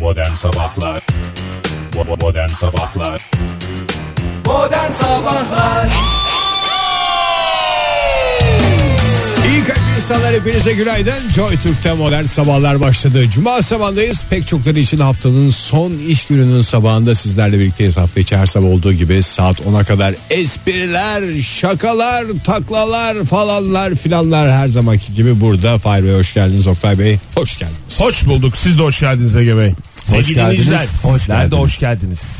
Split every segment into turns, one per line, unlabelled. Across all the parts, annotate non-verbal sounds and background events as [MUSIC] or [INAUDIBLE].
Modern Sabahlar Bo- Modern Sabahlar
Modern Sabahlar
İyi kalp insanlar hepinize günaydın. Joy Türk'te modern sabahlar başladı. Cuma sabahındayız. Pek çokları için haftanın son iş gününün sabahında sizlerle birlikteyiz. Hafta içi her sabah olduğu gibi saat 10'a kadar espriler, şakalar, taklalar falanlar filanlar her zamanki gibi burada. Fahir Bey hoş geldiniz. Oktay Bey hoş geldiniz.
Hoş bulduk. Siz de hoş geldiniz Ege Bey. Sevgili
geldiniz.
dinleyiciler,
Hoş
Sizler de
geldiniz.
hoş geldiniz.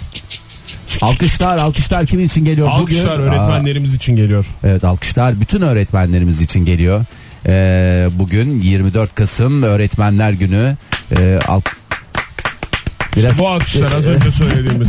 Alkışlar, alkışlar kimin için geliyor bugün?
Alkışlar öğretmenlerimiz için geliyor.
Aa, evet, alkışlar bütün öğretmenlerimiz için geliyor. Ee, bugün 24 Kasım Öğretmenler Günü. Ee, al- Biraz-
Bu alkışlar az önce söylediğimiz.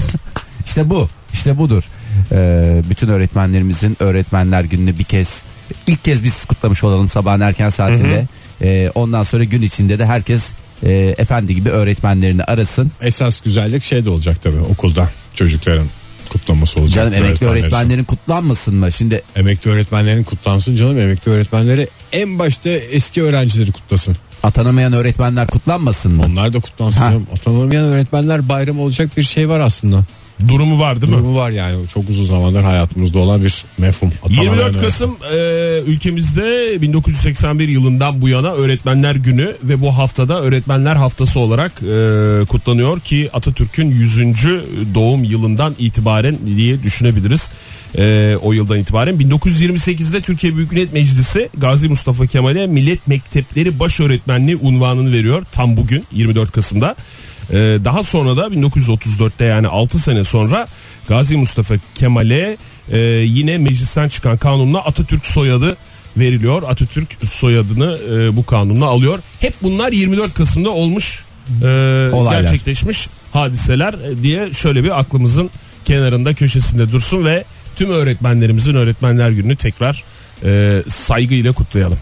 İşte bu, işte budur. Ee, bütün öğretmenlerimizin Öğretmenler Günü'nü bir kez, ilk kez biz kutlamış olalım sabahın erken saatinde. Ee, ondan sonra gün içinde de herkes e, efendi gibi öğretmenlerini arasın.
Esas güzellik şey de olacak tabii okulda çocukların kutlaması olacak.
Canım emekli
Öğretmenler için.
öğretmenlerin kutlanmasın mı? Şimdi
Emekli öğretmenlerin kutlansın canım. Emekli öğretmenleri en başta eski öğrencileri kutlasın.
atanamayan öğretmenler kutlanmasın mı?
Onlar da kutlansın.
Ha.
canım. Atanamayan öğretmenler bayramı olacak bir şey var aslında.
Durumu var değil mi?
Durumu var yani. Çok uzun zamandır hayatımızda olan bir mefhum. Atanamayan
24
öğretmen.
Kasım e, ülkemizde 1981 yılından bu yana Öğretmenler Günü ve bu haftada Öğretmenler Haftası olarak e, kutlanıyor ki Atatürk'ün 100. doğum yılından itibaren diye düşünebiliriz. E, o yıldan itibaren 1928'de Türkiye Büyük Millet Meclisi Gazi Mustafa Kemal'e Millet Mektepleri Baş Öğretmenliği unvanını veriyor tam bugün 24 Kasım'da. E, daha sonra da 1934'te yani 6 sene sonra Gazi Mustafa Kemal'e e, yine meclisten çıkan kanunla Atatürk soyadı veriliyor. Atatürk soyadını e, bu kanunla alıyor. Hep bunlar 24 Kasım'da olmuş e,
Olaylar.
gerçekleşmiş hadiseler e, diye şöyle bir aklımızın kenarında köşesinde dursun ve tüm öğretmenlerimizin öğretmenler gününü tekrar e, saygıyla kutlayalım.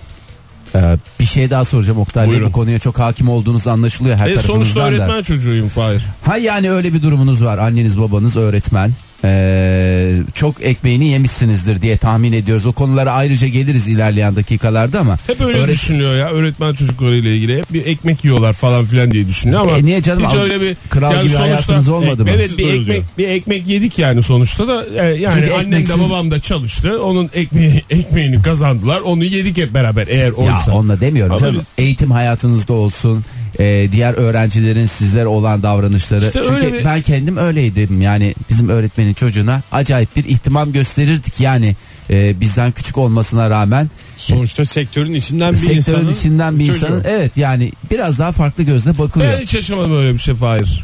Ee, bir şey daha soracağım Oktay Bey
Buyurun.
bu konuya çok hakim olduğunuz anlaşılıyor her
e, sonuçta
tarafınızdan da.
öğretmen çocuğuyum Fahir.
Ha yani öyle bir durumunuz var anneniz babanız öğretmen. Ee, çok ekmeğini yemişsinizdir diye tahmin ediyoruz. O konulara ayrıca geliriz ilerleyen dakikalarda ama.
Hep öyle
Öğret-
düşünüyor ya öğretmen çocuklarıyla ilgili hep bir ekmek yiyorlar falan filan diye düşünüyor ama
E, niye canım?
hiç
Al-
öyle bir
kral gibi hayatınız olmadı mı?
Evet bir
Öyle
ekmek bir ekmek yedik yani sonuçta da e, yani
Çünkü
annem de
ekmeksiz-
babam da çalıştı onun ekmeği [LAUGHS] ekmeğini kazandılar onu yedik hep beraber eğer
Ya
şey oysa.
onunla demiyorum
Ama
canım.
biz-
Eğitim hayatınızda olsun. ee, diğer öğrencilerin sizlere olan davranışları.
İşte
Çünkü
öyle bir-
ben kendim öyleydim. Yani bizim öğretmenin çocuğuna acayip bir ihtimam gösterirdik. Yani ee, bizden küçük olmasına rağmen
Sonuçta sektörün içinden bir
sektörün
insanın
içinden bir
çocuğu.
insanın evet yani biraz daha farklı gözle bakılıyor.
ben hiç yaşamadım öyle bir şey Fahir.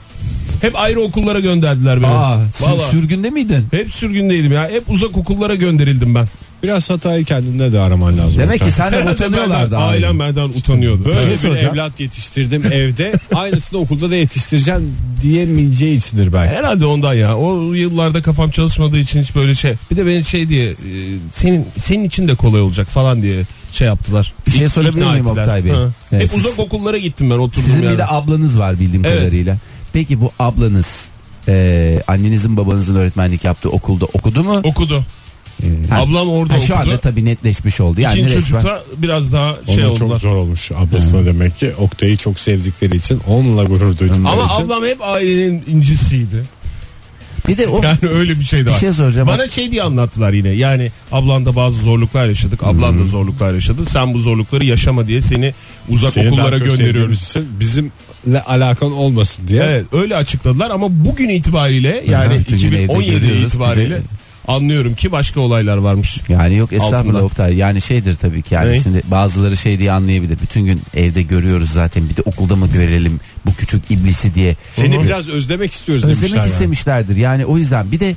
Hep ayrı okullara gönderdiler beni.
Aa, sür-
Vallahi.
sürgünde miydin?
hep sürgündeydim ya. Hep uzak okullara gönderildim ben.
Biraz hatayı kendinde de araman lazım.
Demek ki
Oktay.
[LAUGHS]
sen de
Herhalde benden-
utanıyorlardı. abi.
Ailem benden utanıyordu.
Böyle
Evet.
bir
soracağım.
evlat yetiştirdim evde. Aynısını okulda da yetiştireceğim diyemeyeceği içindir belki.
Herhalde ondan ya. O yıllarda kafam çalışmadığı için hiç böyle şey. Bir de beni şey diye e, senin senin için de kolay olacak falan diye şey yaptılar.
Bir şey
İk-
sorabilir
ikna
miyim
ettiler.
Oktay Bey?
Ha.
Evet,
Hep
siz-
uzak okullara gittim ben oturdum
Sizin
yani.
bir de ablanız var bildiğim
Evet.
kadarıyla. Peki bu ablanız e, annenizin babanızın öğretmenlik yaptığı okulda okudu mu?
Okudu.
Ha.
Ablam orada
Hmm. Ha,
okudu.
şu anda tabii netleşmiş oldu. Yani
İkinci
resmen-
çocukta biraz daha şey
Ona çok
oldular.
zor olmuş ablasına demek ki. Oktay'ı çok sevdikleri için onunla gurur duydukları
Ama
için.
ablam hep ailenin incisiydi.
Bir de o
Yani öyle bir şey de
bir
var.
şey soracağım.
Bana şey diye anlattılar yine. Yani ablanda bazı zorluklar yaşadık. Ablan
Hmm.
da zorluklar yaşadı. Sen bu zorlukları yaşama diye seni uzak
Seni daha
okullara
çok
gönderiyoruz.
sevdiğimiz için Bizimle alakan olmasın diye.
Evet öyle açıkladılar ama bugün itibariyle yani
Evet, bugün evde
2017
görüyoruz.
itibariyle
Bir de-
anlıyorum ki başka olaylar varmış.
Yani yok
Altında.
estağfurullah Oktay. Yani şeydir tabii ki yani
Ney?
şimdi bazıları şey diye anlayabilir. Bütün gün evde görüyoruz zaten bir de okulda mı görelim bu küçük iblisi diye.
Seni biraz özlemek istiyoruz
Özlemek
demişler. yani.
istemişlerdir. Yani o yüzden bir de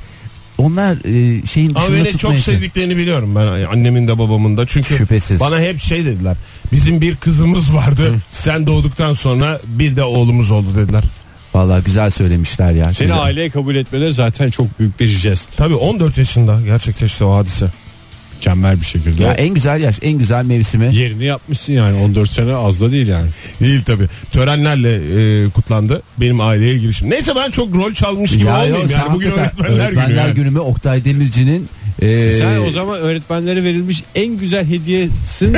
onlar e, şeyin
Ama
dışında
beni çok
tutmaya çalışıyor.
sevdiklerini biliyorum ben annemin de babamın da çünkü
Şüphesiz.
bana hep şey dediler. Bizim bir kızımız vardı. Sen doğduktan sonra bir de oğlumuz oldu dediler.
Vallahi güzel söylemişler ya.
Seni
Güzel.
aileye kabul etmeleri zaten çok büyük bir jest.
Tabii 14 yaşında gerçekleşti o hadise.
Mükemmel bir şekilde.
e-
Ya en güzel yaş, en güzel mevsimi.
Yerini yapmışsın yani 14 sene az da değil yani.
Değil tabii. Törenlerle e, kutlandı benim aileye girişim. Neyse ben çok rol çalmış gibi
Ya
olmayayım
yok, sen
yani bugün
hakikaten
öğretmenler, günü. yani.
günüme Oktay Demirci'nin Ee,
Sen o zaman öğretmenlere verilmiş en güzel
[LAUGHS]
hediyesin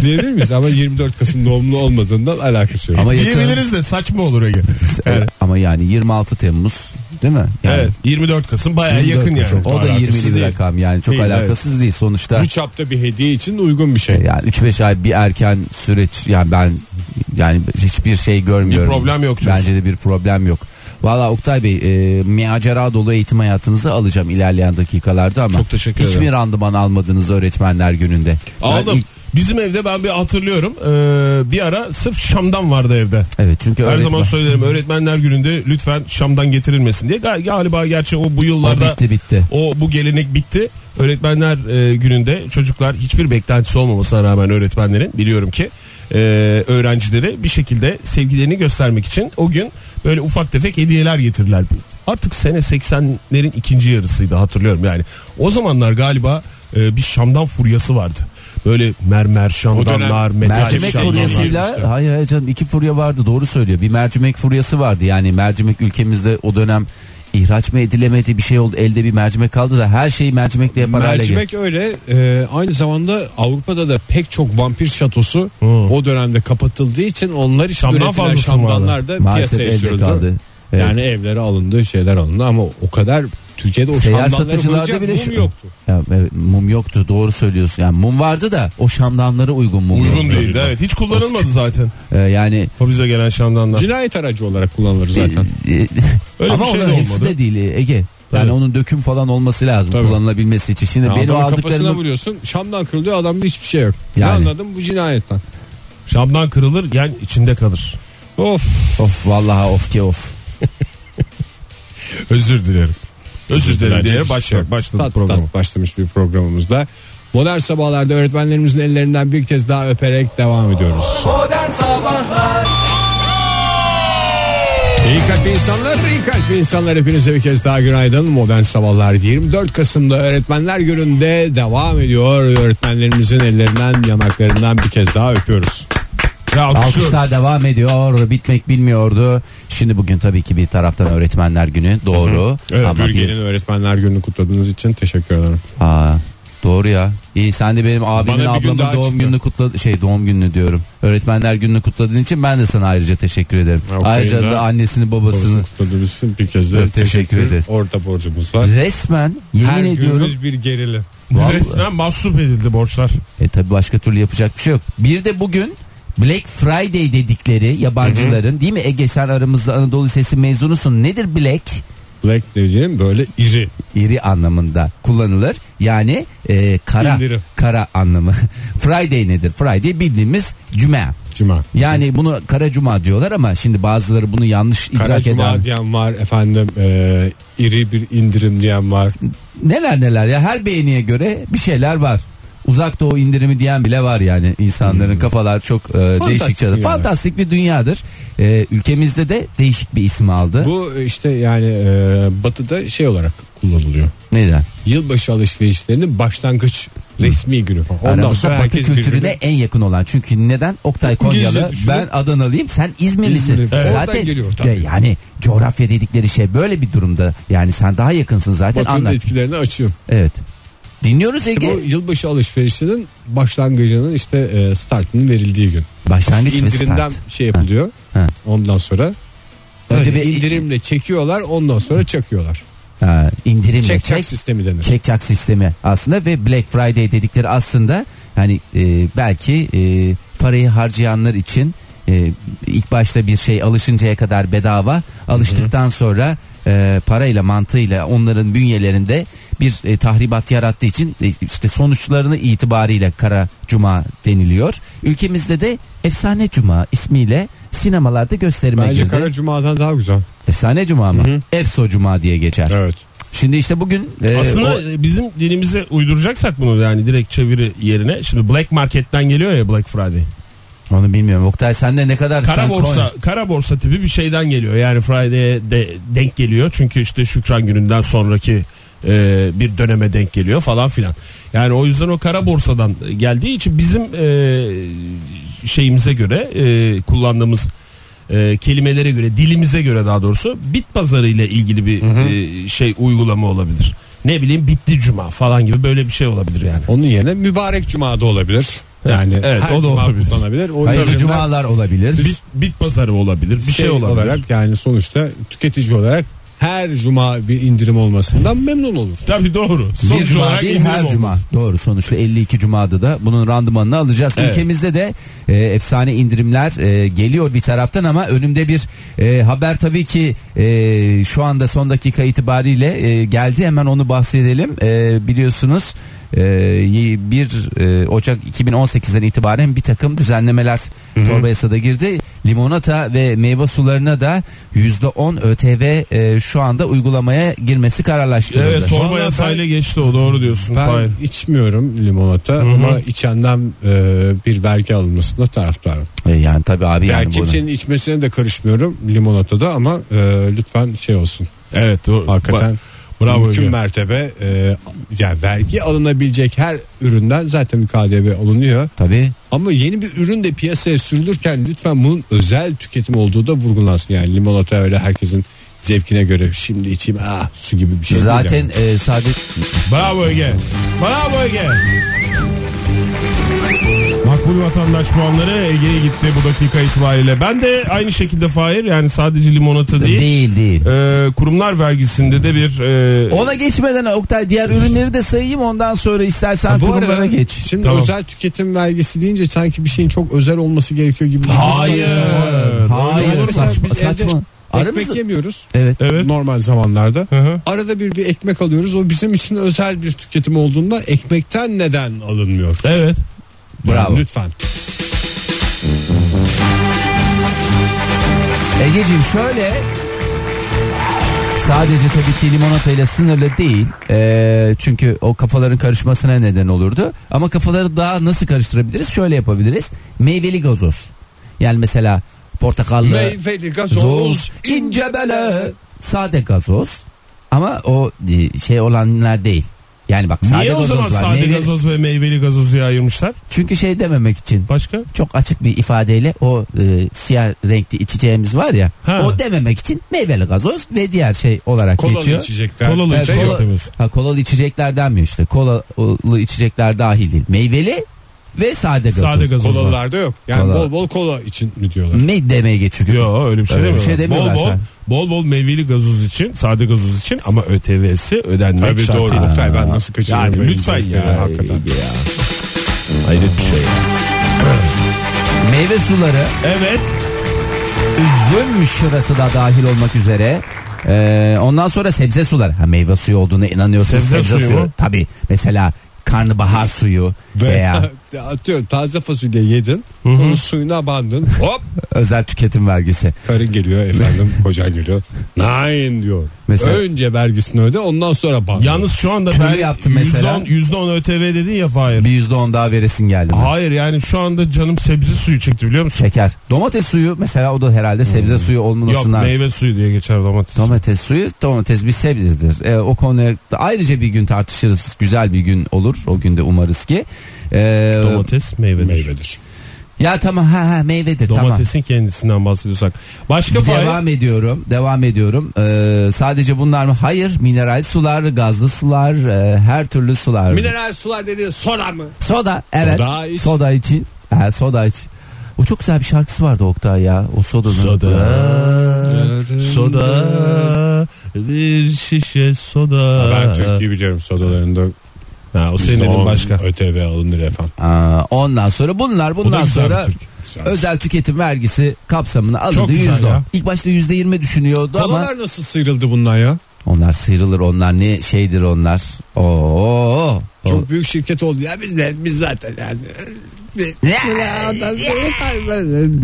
diyebilir miyiz? Ama 24 Kasım doğumlu olmadığından alakası yok.
ama yakın-
Diyebiliriz de saçma olur Ege.
Evet. Ama yani 26 Temmuz değil mi? Yani
Evet 24 Kasım baya
24
yakın yani.
Kasım. O da
Alakasız
20'li bir
değil.
rakam yani çok
Değil,
alakasız değil sonuçta.
Bu çapta bir hediye için uygun bir şey.
Yani 3-5 ay bir erken süreç yani ben yani hiçbir şey görmüyorum.
Bir problem yok diyorsun.
Bence de bir problem yok. Valla Oktay Bey e, macera dolu eğitim hayatınızı alacağım ilerleyen dakikalarda ama
Çok teşekkür
hiçbir
ederim.
randıman almadınız öğretmenler gününde. Ben
Aldım.
ilk-
Bizim evde ben bir hatırlıyorum. Ee, bir ara sırf Şam'dan vardı evde.
evet çünkü
Her
öğretmen,
zaman söylerim öğretmenler gününde lütfen Şam'dan getirilmesin diye. Gal- Galiba gerçi o bu
o
yıllarda
bitti bitti.
o bu gelenek bitti. Öğretmenler e, gününde çocuklar hiçbir beklentisi olmamasına rağmen öğretmenlerin biliyorum ki e, öğrencilere bir şekilde sevgilerini göstermek için o gün böyle ufak tefek hediyeler getirirler. Artık sene 80'lerin ikinci yarısıydı hatırlıyorum yani. O zamanlar galiba e, bir Şam'dan furyası vardı. Böyle mermer şamdanlar, metal
Mercimek
şamdanlar.
furyasıyla hayır hayır canım iki furya vardı doğru söylüyor. Bir mercimek furyası vardı yani mercimek ülkemizde o dönem ihraç mı edilemedi bir şey oldu elde bir mercimek kaldı da her şeyi mercimekle yapar hale geldi.
Mercimek öyle e, aynı zamanda Avrupa'da da pek çok vampir şatosu
Hı.
o dönemde kapatıldığı için onlar için
Şamdan
üretilen
fazlası
şamdanlar da
Maalesef
piyasaya
elde
sürüldü.
kaldı. Evet.
Yani evlere alındı şeyler alındı ama o kadar Türkiye'de o
Seyyar
şamdanları
satıcılarda
bulacak
bile
mum
şu-
yoktu.
Ya, evet, mum yoktu doğru söylüyorsun. Yani mum vardı da o şamdanlara uygun mum.
Uygun
yoktu.
değildi evet. Hiç kullanılmadı zaten.
Ee, yani
O bize gelen şamdanlar.
Cinayet aracı olarak kullanılır zaten.
e,
Öyle
ama
bir şey de
onun hepsi
olmadı.
de değil e, Ege. Yani
Evet.
onun döküm falan olması lazım
Tabii.
kullanılabilmesi için. Şimdi
Ya
benim
adamın kafasına
aldıklarım
vuruyorsun şamdan kırılıyor adamda hiçbir şey yok.
Yani.
Ne anladım bu cinayetten.
Şamdan kırılır yani içinde kalır.
Of
of vallahi of ki of.
Özür dilerim. Özür dilerim diye
Gerçek
başlar,
istiyorum.
başladık
Tat
programı.
tat başlamış bir programımızda. Modern sabahlarda öğretmenlerimizin ellerinden bir kez daha öperek devam ediyoruz.
Modern Sabahlar
İyi kalp insanlar, iyi kalp insanlar hepinize bir kez daha günaydın. Modern Sabahlar 24 Kasım'da Öğretmenler Günü'nde devam ediyor. Öğretmenlerimizin ellerinden, yanaklarından bir kez daha öpüyoruz.
Ya alkışlıyoruz.
Alkışlar devam ediyor. Bitmek bilmiyordu. Şimdi bugün tabii ki bir taraftan öğretmenler günü doğru.
Evet,
Ama bir-
Bürge'nin Öğretmenler Günü'nü kutladığınız için teşekkür ederim.
Aa, doğru ya. İyi sen de benim abimin
Bana bir gün
ablamın
daha
doğum
çıktı.
gününü kutladı şey doğum gününü diyorum. Öğretmenler gününü kutladığın için ben de sana ayrıca teşekkür ederim.
Yok,
ayrıca
yayında
da annesini
Babasını
babasını
kutladığınız için bir kez de
Evet, teşekkür
teşekkür
ederiz.
Orta borcumuz var.
resmen yemin
Her
ediyorum.
günümüz bir gerilim.
Vallahi.
Resmen mahsup edildi borçlar.
E tabi başka türlü yapacak bir şey yok. Bir de bugün Black Friday dedikleri yabancıların değil mi Ege sen aramızda Anadolu Lisesi mezunusun. Nedir Black?
Black dediğim böyle iri.
iri anlamında kullanılır. Yani e, kara
İndirim.
kara anlamı. [LAUGHS] Friday nedir? Friday bildiğimiz cuma.
Cuma.
Yani bunu kara cuma diyorlar ama şimdi bazıları bunu yanlış
Kara
idrak
Cuma
eder.
diyen var efendim e, iri bir indirim diyen var.
Neler neler ya her beğeniye göre bir şeyler var. Uzak doğu indirimi diyen bile var yani
Hmm.
insanların kafalar çok e, değişik. çalı-
yani.
Fantastik bir dünyadır. E, ülkemizde de değişik bir isim aldı.
Bu işte yani e, batıda şey olarak kullanılıyor.
Neden?
Yılbaşı alışverişlerinin başlangıç resmi günü falan. Ondan
Aramızda
sonra
Batı
herkes
kültürüne
birbirine
en yakın olan. Çünkü neden? Oktay
İngilizce
Konyalı,
düşünün.
ben Adanalıyım, sen İzmirlisin.
İzmirli. Evet. Oradan
Zaten
geliyor tabii.
Ya yani coğrafya dedikleri şey böyle bir durumda. Yani sen daha yakınsın zaten
batının
anlat.
etkilerini açıyor.
Evet. Dinliyoruz
İşte
Ege.
bu yılbaşı alışverişinin başlangıcının işte e, startının verildiği gün.
Başlangıç ve
İndirimden
start.
şey yapılıyor.
Ha.
Ondan sonra
Önce
Önce
bir-
indirimle çekiyorlar ondan sonra çakıyorlar.
Ha, indirimle
Çek
çek,
çak sistemi denir.
çek çak sistemi aslında ve Black Friday dedikleri aslında hani e, belki e, parayı harcayanlar için e, ilk başta bir şey alışıncaya kadar bedava alıştıktan sonra e, parayla mantığıyla onların bünyelerinde bir e, tahribat yarattığı için e, işte sonuçlarını itibariyle Kara Cuma deniliyor. Ülkemizde de Efsane Cuma ismiyle sinemalarda gösterime
Bence
girdi.
Kara Cuma'dan daha güzel.
Efsane Cuma mı? Efso Cuma diye geçer.
Evet.
Şimdi işte bugün e,
Aslında
o-
e, bizim dilimize uyduracaksak bunu yani direkt çeviri yerine. Şimdi Black Market'ten geliyor ya Black Friday.
Onu bilmiyorum. Oktay sen de ne kadar
Kara
sen
borsa,
Konya-
kara borsa tipi bir şeyden geliyor. Yani Friday'e de denk geliyor. Çünkü işte Şükran gününden sonraki e, bir döneme denk geliyor falan filan. Yani o yüzden o kara borsadan geldiği için bizim e, şeyimize göre e, kullandığımız e, kelimelere göre dilimize göre daha doğrusu bit pazarı ile ilgili bir e, şey uygulama olabilir. ne bileyim bitti cuma falan gibi böyle bir şey olabilir yani.
Onun yerine mübarek cumada olabilir. Yani
Evet,
her
o da
cuma
olabilir.
kutlanabilir. O
Hayırlı
yüzden
cumalar olabilir.
Bit, bit pazarı olabilir bir şey,
şey
olabilir.
olarak yani sonuçta tüketici olarak her cuma bir indirim olmasından memnun olur.
Tabii doğru.
bir
Sonuç
cuma
olarak
değil
indirim
her
olmaz.
cuma. Doğru sonuçta 52 cumada da bunun randımanını alacağız.
Evet.
Ülkemizde de e, efsane indirimler e, geliyor bir taraftan ama önümde bir e, haber tabii ki e, şu anda son dakika itibariyle e, geldi. Hemen onu bahsedelim. E, biliyorsunuz e, y- 1 e, Ocak 2018'den itibaren bir takım düzenlemeler torba yasada girdi. Limonata ve meyve sularına da %10 ÖTV e, şu anda uygulamaya girmesi kararlaştırıldı.
Evet
Vallahi
torba
ben-
yasayla geçti o doğru diyorsun.
Ben
Fahir.
içmiyorum limonata ama içenden e, bir vergi alınmasında taraftarım.
E, yani tabii abi
Yani,
yani bunu-
kimsenin içmesine de karışmıyorum limonatada ama e, lütfen şey olsun.
Evet doğru.
Hakikaten
Ba- bravo
mümkün
Ege.
mertebe e, yani vergi alınabilecek her üründen zaten bir KDV alınıyor.
Tabii.
Ama yeni bir ürün de piyasaya sürülürken lütfen bunun özel tüketim olduğu da vurgulansın. Yani limonata öyle herkesin zevkine göre şimdi içeyim ah su gibi bir şey. değil
Zaten
yani.
e, Saadet
Bravo Ege. Bravo Ege. Makbul vatandaş puanları Ege'ye gitti bu dakika itibariyle. Ben de aynı şekilde Fahir yani sadece limonata değil.
değil değil.
e, kurumlar vergisinde de bir e,
Ona geçmeden Oktay diğer ürünleri de sayayım ondan sonra istersen
Bu
kurumlara
arada
geç.
Şimdi
Tamam.
özel tüketim vergisi deyince sanki bir şeyin çok özel olması gerekiyor gibi. bir his
Hayır.
oluyor.
Hayır.
Olur mu?
Saçma.
Biz evde
saçma.
Ekmek
Aramızda
yemiyoruz.
Evet.
evet
Normal zamanlarda.
Hı hı.
Arada bir bir ekmek alıyoruz. O bizim için özel bir tüketim olduğunda ekmekten neden alınmıyor?
evet
Yani
Bravo.
lütfen.
Egeciğim şöyle sadece tabii ki limonatayla sınırlı değil. Ee, çünkü o kafaların karışmasına neden olurdu. Ama kafaları daha nasıl karıştırabiliriz? Şöyle yapabiliriz. Meyveli gazoz. Yani mesela portakallı
Meyveli gazoz.
Gazoz ince bele. Sade gazoz. Ama o e, şey olanlar değil. Yani bak sade
niye o
gazoz
zaman
var.
sade
Meyve-
gazoz ve meyveli gazozu diye ayırmışlar
Çünkü şey dememek için
başka
çok açık bir ifadeyle o e, siyah renkli içeceğimiz var ya.
Ha.
O dememek için meyveli gazoz ve diğer şey olarak
Kolalı
geçiyor.
içecekler.
Kolalı
Evet,
içecek
kola-
demiyorsun.
ha, kolalı içecekler denmiyor işte. Kolalı içecekler dahil değil. Meyveli ve sade gazoz.
Sade gazoz.
Kolalarda yok. Yani
Kola.
bol bol kola için mi diyorlar?
Ne demeye geçiyor?
Yo öyle bir şey
Öyle bir
demiyorlar.
şey demiyorlar
bol bol,
sen.
bol bol meyveli gazoz için, sade gazoz için ama ÖTV'si ödenmek
Tabii
şart.
doğru.
değil.
Oktay ben nasıl kaçırıyorum?
Yani
böyle
lütfen
incelikleri
ya.
Hakikaten.
Hayret bir şey.
Meyve suları
Evet.
üzüm şırası da dahil olmak üzere. Ee, ondan sonra sebze suları. Ha, meyve suyu olduğuna inanıyorsunuz.
Sebze suyu mu?
Tabii. Mesela karnabahar suyu
[LAUGHS]
veya
[LAUGHS] atıyorum taze fasulye yedin. Onun suyuna bandın. Hop
özel tüketim vergisi.
karın
[LAUGHS]
geliyor efendim kocan geliyor. Nein diyor.
Mesela-
Önce vergisini öde ondan sonra ban.
Yalnız şu anda
Tülü
ben
yaptım mesela.
%10, %10 ÖTV dedin ya Fahir.
Bir yüzde on daha veresin geldi. mi?
Hayır yani şu anda canım sebze suyu çekti biliyor musun?
Şeker. Domates suyu mesela o da herhalde sebze suyu
Hmm. Yok
olmasından.
meyve suyu diye geçer domates.
Domates suyu domates bir sebzedir. Ee, o konuya da ayrıca bir gün tartışırız. Güzel bir gün olur. O günde umarız ki. Ee,
Domates meyvedir.
meyvedir.
ya tamam ha ha meyvedir tamam.
Domatesin kendisinden bahsediyorsak. Başka Fahir.
Devam ediyorum, devam ediyorum. Ee, sadece bunlar mı? Hayır, mineral sular, gazlı sular, e, her türlü sular.
Mineral sular dedi soda mı?
soda, evet.
Soda iç.
için. Ha, soda iç. O çok güzel bir şarkısı vardı Oktay ya. O sodanın.
soda, bir şişe soda.
Ben Türkiye biliyorum sodalarında.
Ha, o
Bizde
senin dediğin
on
başka.
ÖTV alınır efendim.
Aa, Ee, ondan sonra bunlar bundan
güzel
sonra
bir Türk.
Güzel.
özel tüketim vergisi kapsamına
Çok
alındı
güzel
yüzde
ya.
on. İlk başta yüzde yirmi düşünüyordu ama
Kolalar nasıl sıyrıldı bundan ya?
onlar sıyrılır onlar ne şeydir onlar. Oo.
Çok büyük şirket oldu ya biz de biz zaten yani.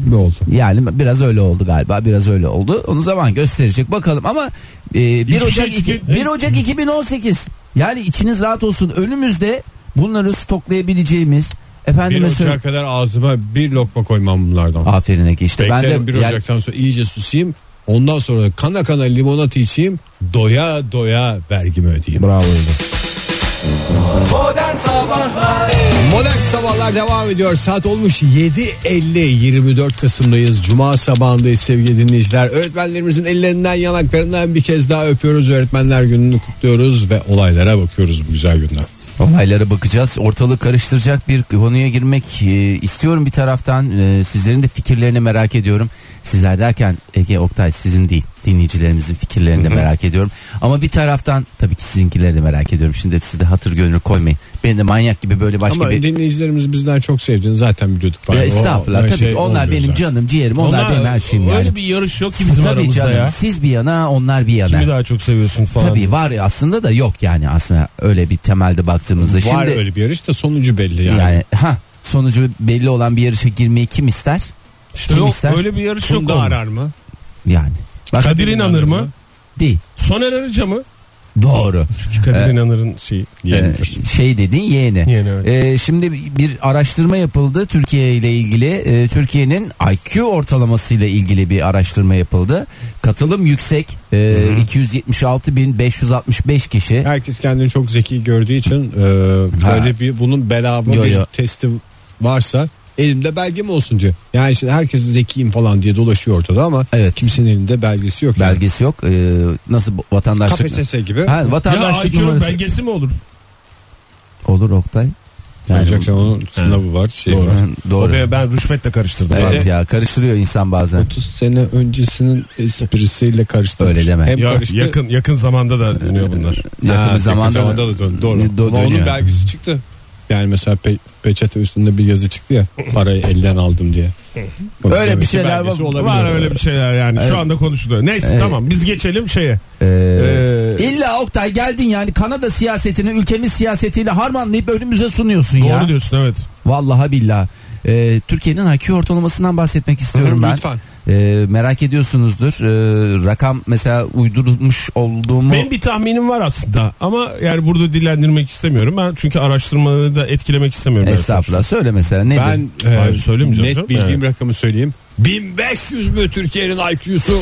Ne oldu?
Yani biraz öyle oldu galiba. Biraz öyle oldu. Onu zaman gösterecek bakalım ama e, 1
şey
Ocak iki-
tüket-
1 Ocak 2018. Yani içiniz rahat olsun. Önümüzde bunları stoklayabileceğimiz
Bir
efendime
ocağa
söyle.
kadar ağzıma bir lokma koymam bunlardan.
Aferin Ege işte
Beklerim
ben de
bir
yani
ocaktan sonra iyice susayım. Ondan sonra da kana kana limonata içeyim. Doya doya vergimi ödeyeyim.
bravo Ege.
Modern Sabahlar
Modern Sabahlar devam ediyor. Saat olmuş 7.50. 24 Kasım'dayız. Cuma sabahındayız sevgili dinleyiciler. Öğretmenlerimizin ellerinden yanaklarından bir kez daha öpüyoruz. Öğretmenler gününü kutluyoruz ve olaylara bakıyoruz bu güzel günde.
Olaylara bakacağız. Ortalığı karıştıracak bir konuya girmek e, istiyorum bir taraftan. E, sizlerin de fikirlerini merak ediyorum. Sizler derken Ege Oktay sizin değil dinleyicilerimizin fikirlerini de merak ediyorum. Ama bir taraftan tabii ki sizinkileri de merak ediyorum. Şimdi siz de hatır gönül koymayın. Beni de manyak gibi böyle başka
Ama
bir...
dinleyicilerimiz bizden çok sevdiğini zaten biliyorduk.
Ya
Yani o-
estağfurullah
o
tabii
şey
onlar
olmuyor
benim
zaten.
canım ciğerim onlar, benim her şeyim
Öyle
yani.
bir yarış yok ki bizim
tabii
aramızda
canım
ya.
siz bir yana onlar bir yana.
Kimi daha çok seviyorsun falan.
Tabii var ya aslında da yok yani aslında öyle bir temelde baktığımızda.
Var
Şimdi
öyle bir yarış da sonucu belli yani.
yani, ha sonucu belli olan bir yarışa girmeyi kim ister?
İşte
Kim
yok,
ister?
öyle bir yarış yok.
Funda
oğlum.
arar mı?
Yani. Bak,
Kadir İnanır mı?
Değil.
Soner Arıca mı?
Doğru.
Çünkü Kadir
Ee,
İnanır'ın şeyi.
Ee, şey dedin yeğeni.
Yeğeni, evet.
Ee, şimdi bir araştırma yapıldı Türkiye ile ilgili. Ee, Türkiye'nin IQ ortalaması ile ilgili bir araştırma yapıldı. Katılım yüksek. Ee, 276.565 kişi.
Herkes kendini çok zeki gördüğü için e,
Ha.
böyle bir bunun bedava
Yo,
bir
yo.
testi varsa elimde belgem olsun diyor. Yani şimdi herkes zekiyim falan diye dolaşıyor ortada ama
Evet.
kimsenin elinde belgesi yok. yani.
Belgesi yok. Ee, nasıl bu- vatandaşlık?
KPSS gibi.
Ha,
Ya
vatandaşlık
IQ'nun
numarası.
belgesi mi olur?
Olur Oktay. Yani-
Ancak onun sınavı var. Şey
Doğru.
var.
Doğru.
Oraya ben rüşvetle karıştırdım.
Evet ya karıştırıyor insan bazen.
30 sene öncesinin esprisiyle karıştırmış.
Öyle deme.
Hem
Ya,
karıştı,
yakın yakın zamanda da dönüyor bunlar.
Yakın bir
yakın
zamanda,
zamanda da dön- doğru.
Dö-
Ama onun
dönüyor.
belgesi çıktı. Yani mesela pe- peçete üstünde bir yazı çıktı ya parayı elden aldım diye.
Öyle bir
Onun
şey-
belgesi
şeyler
belgesi
var.
olabilir.
Var öyle bir şeyler yani. Şu anda konuşuluyor. Neyse
Evet.
tamam biz geçelim şeye.
Ee,
Ee,
İlla Oktay geldin yani Kanada siyasetini ülkemiz siyasetiyle harmanlayıp önümüze sunuyorsun
doğru
ya.
diyorsun evet.
Vallahi billah. Ee, Türkiye'nin IQ ortalamasından bahsetmek istiyorum ben.
Lütfen.
Ee, merak ediyorsunuzdur. Ee, rakam mesela uydurmuş olduğumu
Benim bir tahminim var aslında ama yani burada dillendirmek istemiyorum. Ben çünkü araştırmaları da etkilemek istemiyorum.
estağfurullah söyle mesela nedir?
Ben
Hayır,
e,
söylemeyeceğim canım.
net bildiğim
Evet.
rakamı söyleyeyim. 1500 mü Türkiye'nin IQ'su?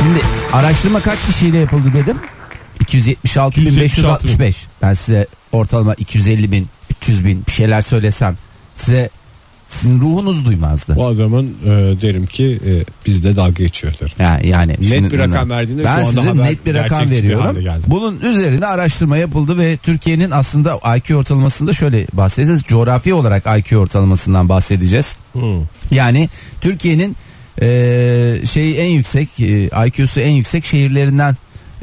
Şimdi araştırma kaç kişiyle yapıldı dedim? 276.565. Ben size ortalama 250 bin, 300 bin bir şeyler söylesem size sizin ruhunuz duymazdı.
Bu adamın e, derim ki e, bizde dalga geçiyorlar.
Ya, yani
Net
şimdi-
bir rakam verdiğinde
ben
şu anda
size
haber
net bir rakam
gerçekçi bir
veriyorum.
hale geldi.
Bunun üzerine araştırma yapıldı ve Türkiye'nin aslında IQ ortalamasında şöyle bahsedeceğiz. Coğrafi olarak IQ ortalamasından bahsedeceğiz.
Hmm.
Yani Türkiye'nin eee, şey en yüksek eee, IQ'su en yüksek şehirlerinden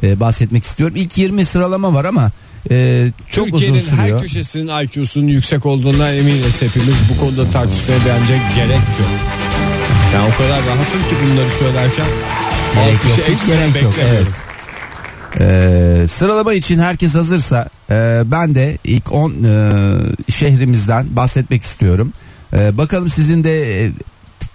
eee, bahsetmek istiyorum. İlk 20 sıralama var ama eee, çok
Türkiye'nin
uzun
her
sürüyor.
köşesinin IQ'sunun yüksek olduğundan eminiz hepimiz. Bu konuda tartışmaya bence gerek yok. Yani o kadar rahatım ki bunları söylerken.
Gerek
alkışı
yok, hiç
ekstra
gerek yok,
beklemiyorum.
evet. Eee, sıralama için herkes hazırsa eee, ben de ilk 10 eee, şehrimizden bahsetmek istiyorum. Eee, bakalım sizin de eee,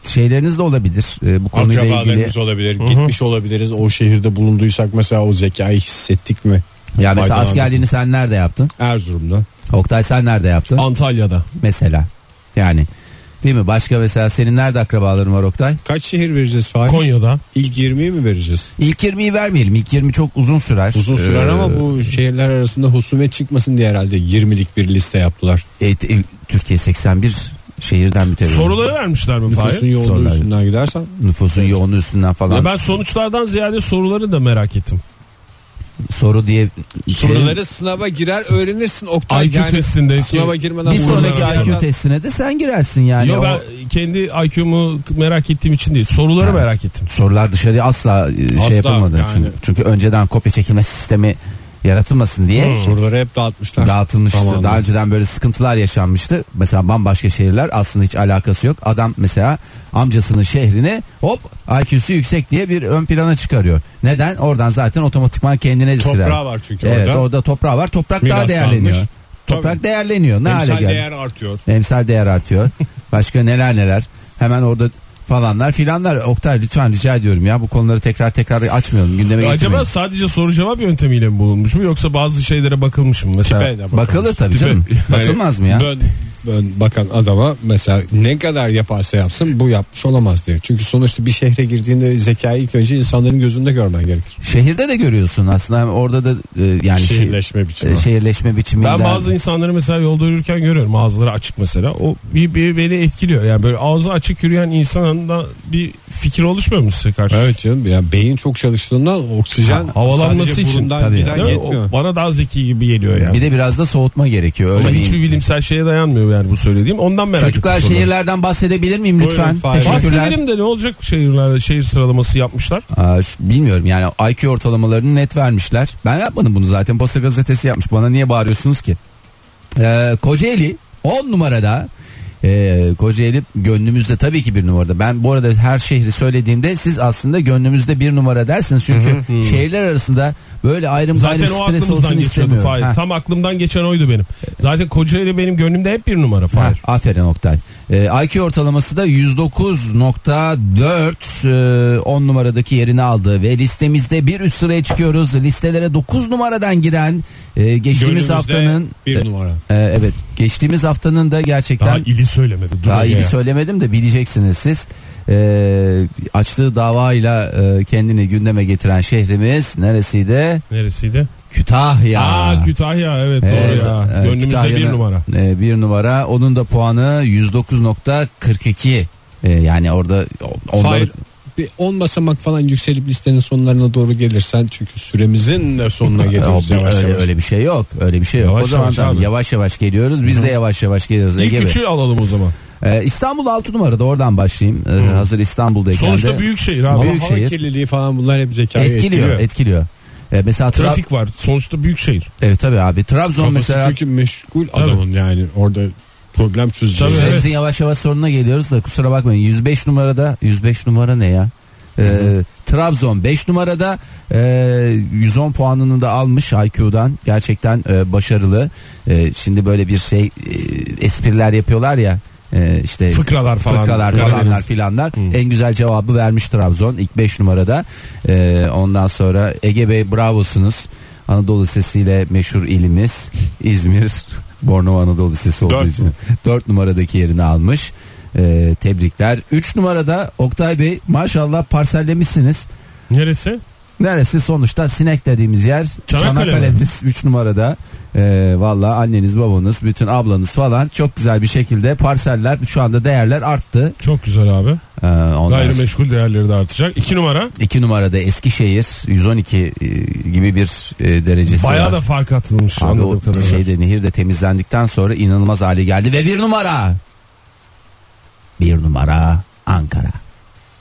şeyleriniz de olabilir eee, bu konuyla ilgili.
Akrabalarımız olabilir, gitmiş olabiliriz. O şehirde bulunduysak mesela o zekayı hissettik mi?
Yani mesela
Faydalandık.
askerliğini sen nerede yaptın?
Erzurum'da.
Oktay sen nerede yaptın?
Antalya'da.
mesela. Yani değil mi? Başka mesela senin nerede akrabaların var Oktay?
Kaç şehir vereceğiz Fahir?
Konya'da.
İlk 20'yi mi vereceğiz?
İlk 20'yi vermeyelim. İlk 20 çok uzun sürer.
Uzun sürer
Ee,
ama bu şehirler arasında husumet çıkmasın diye herhalde 20'lik bir liste yaptılar.
et- e, Türkiye 81 şehirden mütevellit.
Soruları vermişler mi
Nüfusun
Fahir?
yoğunluğu
Sorular.
üstünden gidersen
Nüfusun yoğunluğu üstünden
Ya
falan.
ben sonuçlardan ziyade soruları da merak ettim.
Soru diye şey-
Soruları sınava girer öğrenirsin Oktay.
IQ
yani
testindeki-
Sınava girmeden
bir
sorular
sonraki
arasında-
IQ testine de sen girersin yani.
Yo,
Hani O
ben kendi IQ'mu merak ettiğim için değil. Soruları merak ettim.
Sorular dışarıya asla, e,
Asla,
şey yapılmadı.
yani.
Çünkü, çünkü önceden kopya çekilme sistemi yaratılmasın diye. şey
Soruları hep dağıtmışlar.
dağıtılmıştı.
Tamam.
Daha önceden böyle sıkıntılar yaşanmıştı. Mesela bambaşka şehirler aslında hiç alakası yok. Adam mesela amcasının şehrini hop IQ'su yüksek diye bir ön plana çıkarıyor. Neden? Oradan zaten otomatikman kendine sirer.
Toprağı var çünkü
Evet
orada.
orada. toprağı var. Toprak daha
Miras
değerleniyor.
kalmış.
Toprak
Tabii.
değerleniyor. Ne hale
Emsal
geldi?
değer artıyor.
Emsal değer
[LAUGHS]
artıyor. Başka neler neler. Hemen orada falanlar filanlar. Oktay lütfen rica ediyorum ya bu konuları tekrar tekrar açmayalım. Gündeme getirmeyin.
Acaba sadece soru cevap yöntemiyle mi bulunmuş mu yoksa bazı şeylere bakılmış mı mesela?
Tipe de bakalım.
Bakılır tabii
Tipe-
canım.
Yani
Bakılmaz mı ya?
Dön ben bakan adama mesela ne kadar yaparsa yapsın bu yapmış olamaz diye. Çünkü sonuçta bir şehre girdiğinde zekayı ilk önce insanların gözünde görmen gerekir.
Şehirde de görüyorsun aslında Hem orada da e, yani şi-
Şehirleşme biçimi.
e, şehirleşme biçiminden.
Ben bazı insanları mesela yolda yürürken görüyorum ağızları açık mesela. O bir, bir beni etkiliyor. Yani böyle ağzı açık yürüyen insanın da bir fikir oluşmuyor mu size karşı?
Evet canım ya beyin çok çalıştığından oksijen
Ha, havalanması
sadece
için
burundan
tabii.
giden
Değil mi?
yetmiyor.
O bana daha zeki gibi geliyor yani.
Bir de biraz da soğutma gerekiyor. Öyle
Ama
bir-
hiçbir bilimsel şeye dayanmıyor yani bu söylediğim. Ondan merak
Çocuklar
ettim sonra.
şehirlerden bahsedebilir miyim lütfen?
Buyurun, Fahir.
Teşekkürler.
Bahsedelim de ne olacak şehirlerde şehir sıralaması yapmışlar.
Aa, şu- bilmiyorum yani IQ ortalamalarını net vermişler. Ben yapmadım bunu zaten Posta Gazetesi yapmış. Bana niye bağırıyorsunuz ki? Ee, Kocaeli 10 numarada. Ee, Kocaeli gönlümüzde tabii ki bir numarada. Ben bu arada her şehri söylediğimde siz aslında gönlümüzde bir numara dersiniz. Çünkü şehirler arasında böyle ayrım
Zaten
gayrım
o
stres
aklımızdan
olsun
geçiyordu
istemiyorum.
Fahir.
Ha.
Tam aklımdan geçen oydu benim. Zaten Kocaeli benim gönlümde hep bir numara
Ha,
Fahir.
aferin Oktay. Ee, IQ ortalaması da 109.4 10 e, numaradaki yerini aldı ve listemizde bir üst sıraya çıkıyoruz. Listelere 9 numaradan giren e, geçtiğimiz
Gönlümüzde
haftanın
bir numara.
E, e, evet geçtiğimiz haftanın da gerçekten
Daha
daha,
ili söylemedi. Dur ya.
iyi söylemedim de bileceksiniz siz. E, açtığı davayla e, kendini gündeme getiren şehrimiz neresiydi?
Neresiydi?
Kütahya.
Aa Kütahya evet,
Evet,
doğru ya.
evet,
Gönlümüzde bir
Kütahya'da,
numara.
e, bir numara. Onun da puanı 109.42. E, yani orada onda
Fahir, bir 10 basamak falan yükselip listenin sonlarına doğru gelirsen çünkü süremizin
[LAUGHS]
de sonuna geliyoruz
Öyle-
yavaş
öyle,
yavaş.
öyle bir şey yok. Öyle bir şey yok.
Yavaş
o zaman
yavaş
tamam,
abi.
yavaş yavaş geliyoruz. Biz de yavaş yavaş geliyoruz.
İlk
Ege Bey.
üçü alalım o zaman.
E, İstanbul 6 numarada oradan başlayayım. E, hazır İstanbul'dayken
Sonuçta
de
büyük şehir
Ama
abi.
büyük
hava
şehir.
kirliliği falan bunlar hep zekayı
etkiliyor,
etkiliyor.
etkiliyor. E, mesela Trab-
Trafik var. Sonuçta büyük şehir.
Evet tabii abi. Trabzon
Kafası
mesela
çünkü meşgul adamın yani orada problem çözeceği.
Tabii.
Süremizin yavaş yavaş sonuna geliyoruz da kusura bakmayın 105 numarada 105 numara ne ya? Ee, Trabzon 5 numarada e, 110 puanını da almış IQ'dan gerçekten e, başarılı. E, şimdi böyle bir şey e, espriler yapıyorlar ya e, işte
Fıkralar falan.
fıkralar
Karadeniz.
falanlar filanlar en güzel cevabı vermiş Trabzon ilk 5 numarada. E, ondan sonra Ege Bey bravosunuz. Anadolu Lisesi ile meşhur ilimiz İzmir [LAUGHS] Bornova Anadolu Lisesi olduğu
Dört
için 4 numaradaki yerini almış. Ee, tebrikler. 3 numarada Oktay Bey maşallah parsellemişsiniz.
Neresi?
Neresi sonuçta sinek dediğimiz yer
Çanakkale mi?
Çanakkale'miz 3 numarada. Ee, Valla anneniz babanız bütün ablanız falan çok güzel bir şekilde parseller şu anda değerler arttı.
Çok güzel abi.
Ee, ondan sonra-
Gayrimeşgul değerleri de artacak. İki numara.
2 numarada Eskişehir 112 e, gibi bir e, derecesi var.
Bayağı da fark atılmış.
Abi
anladığım
o
kadarıyla.
şeyde nehir de temizlendikten sonra inanılmaz hale geldi ve bir numara. Bir numara Ankara.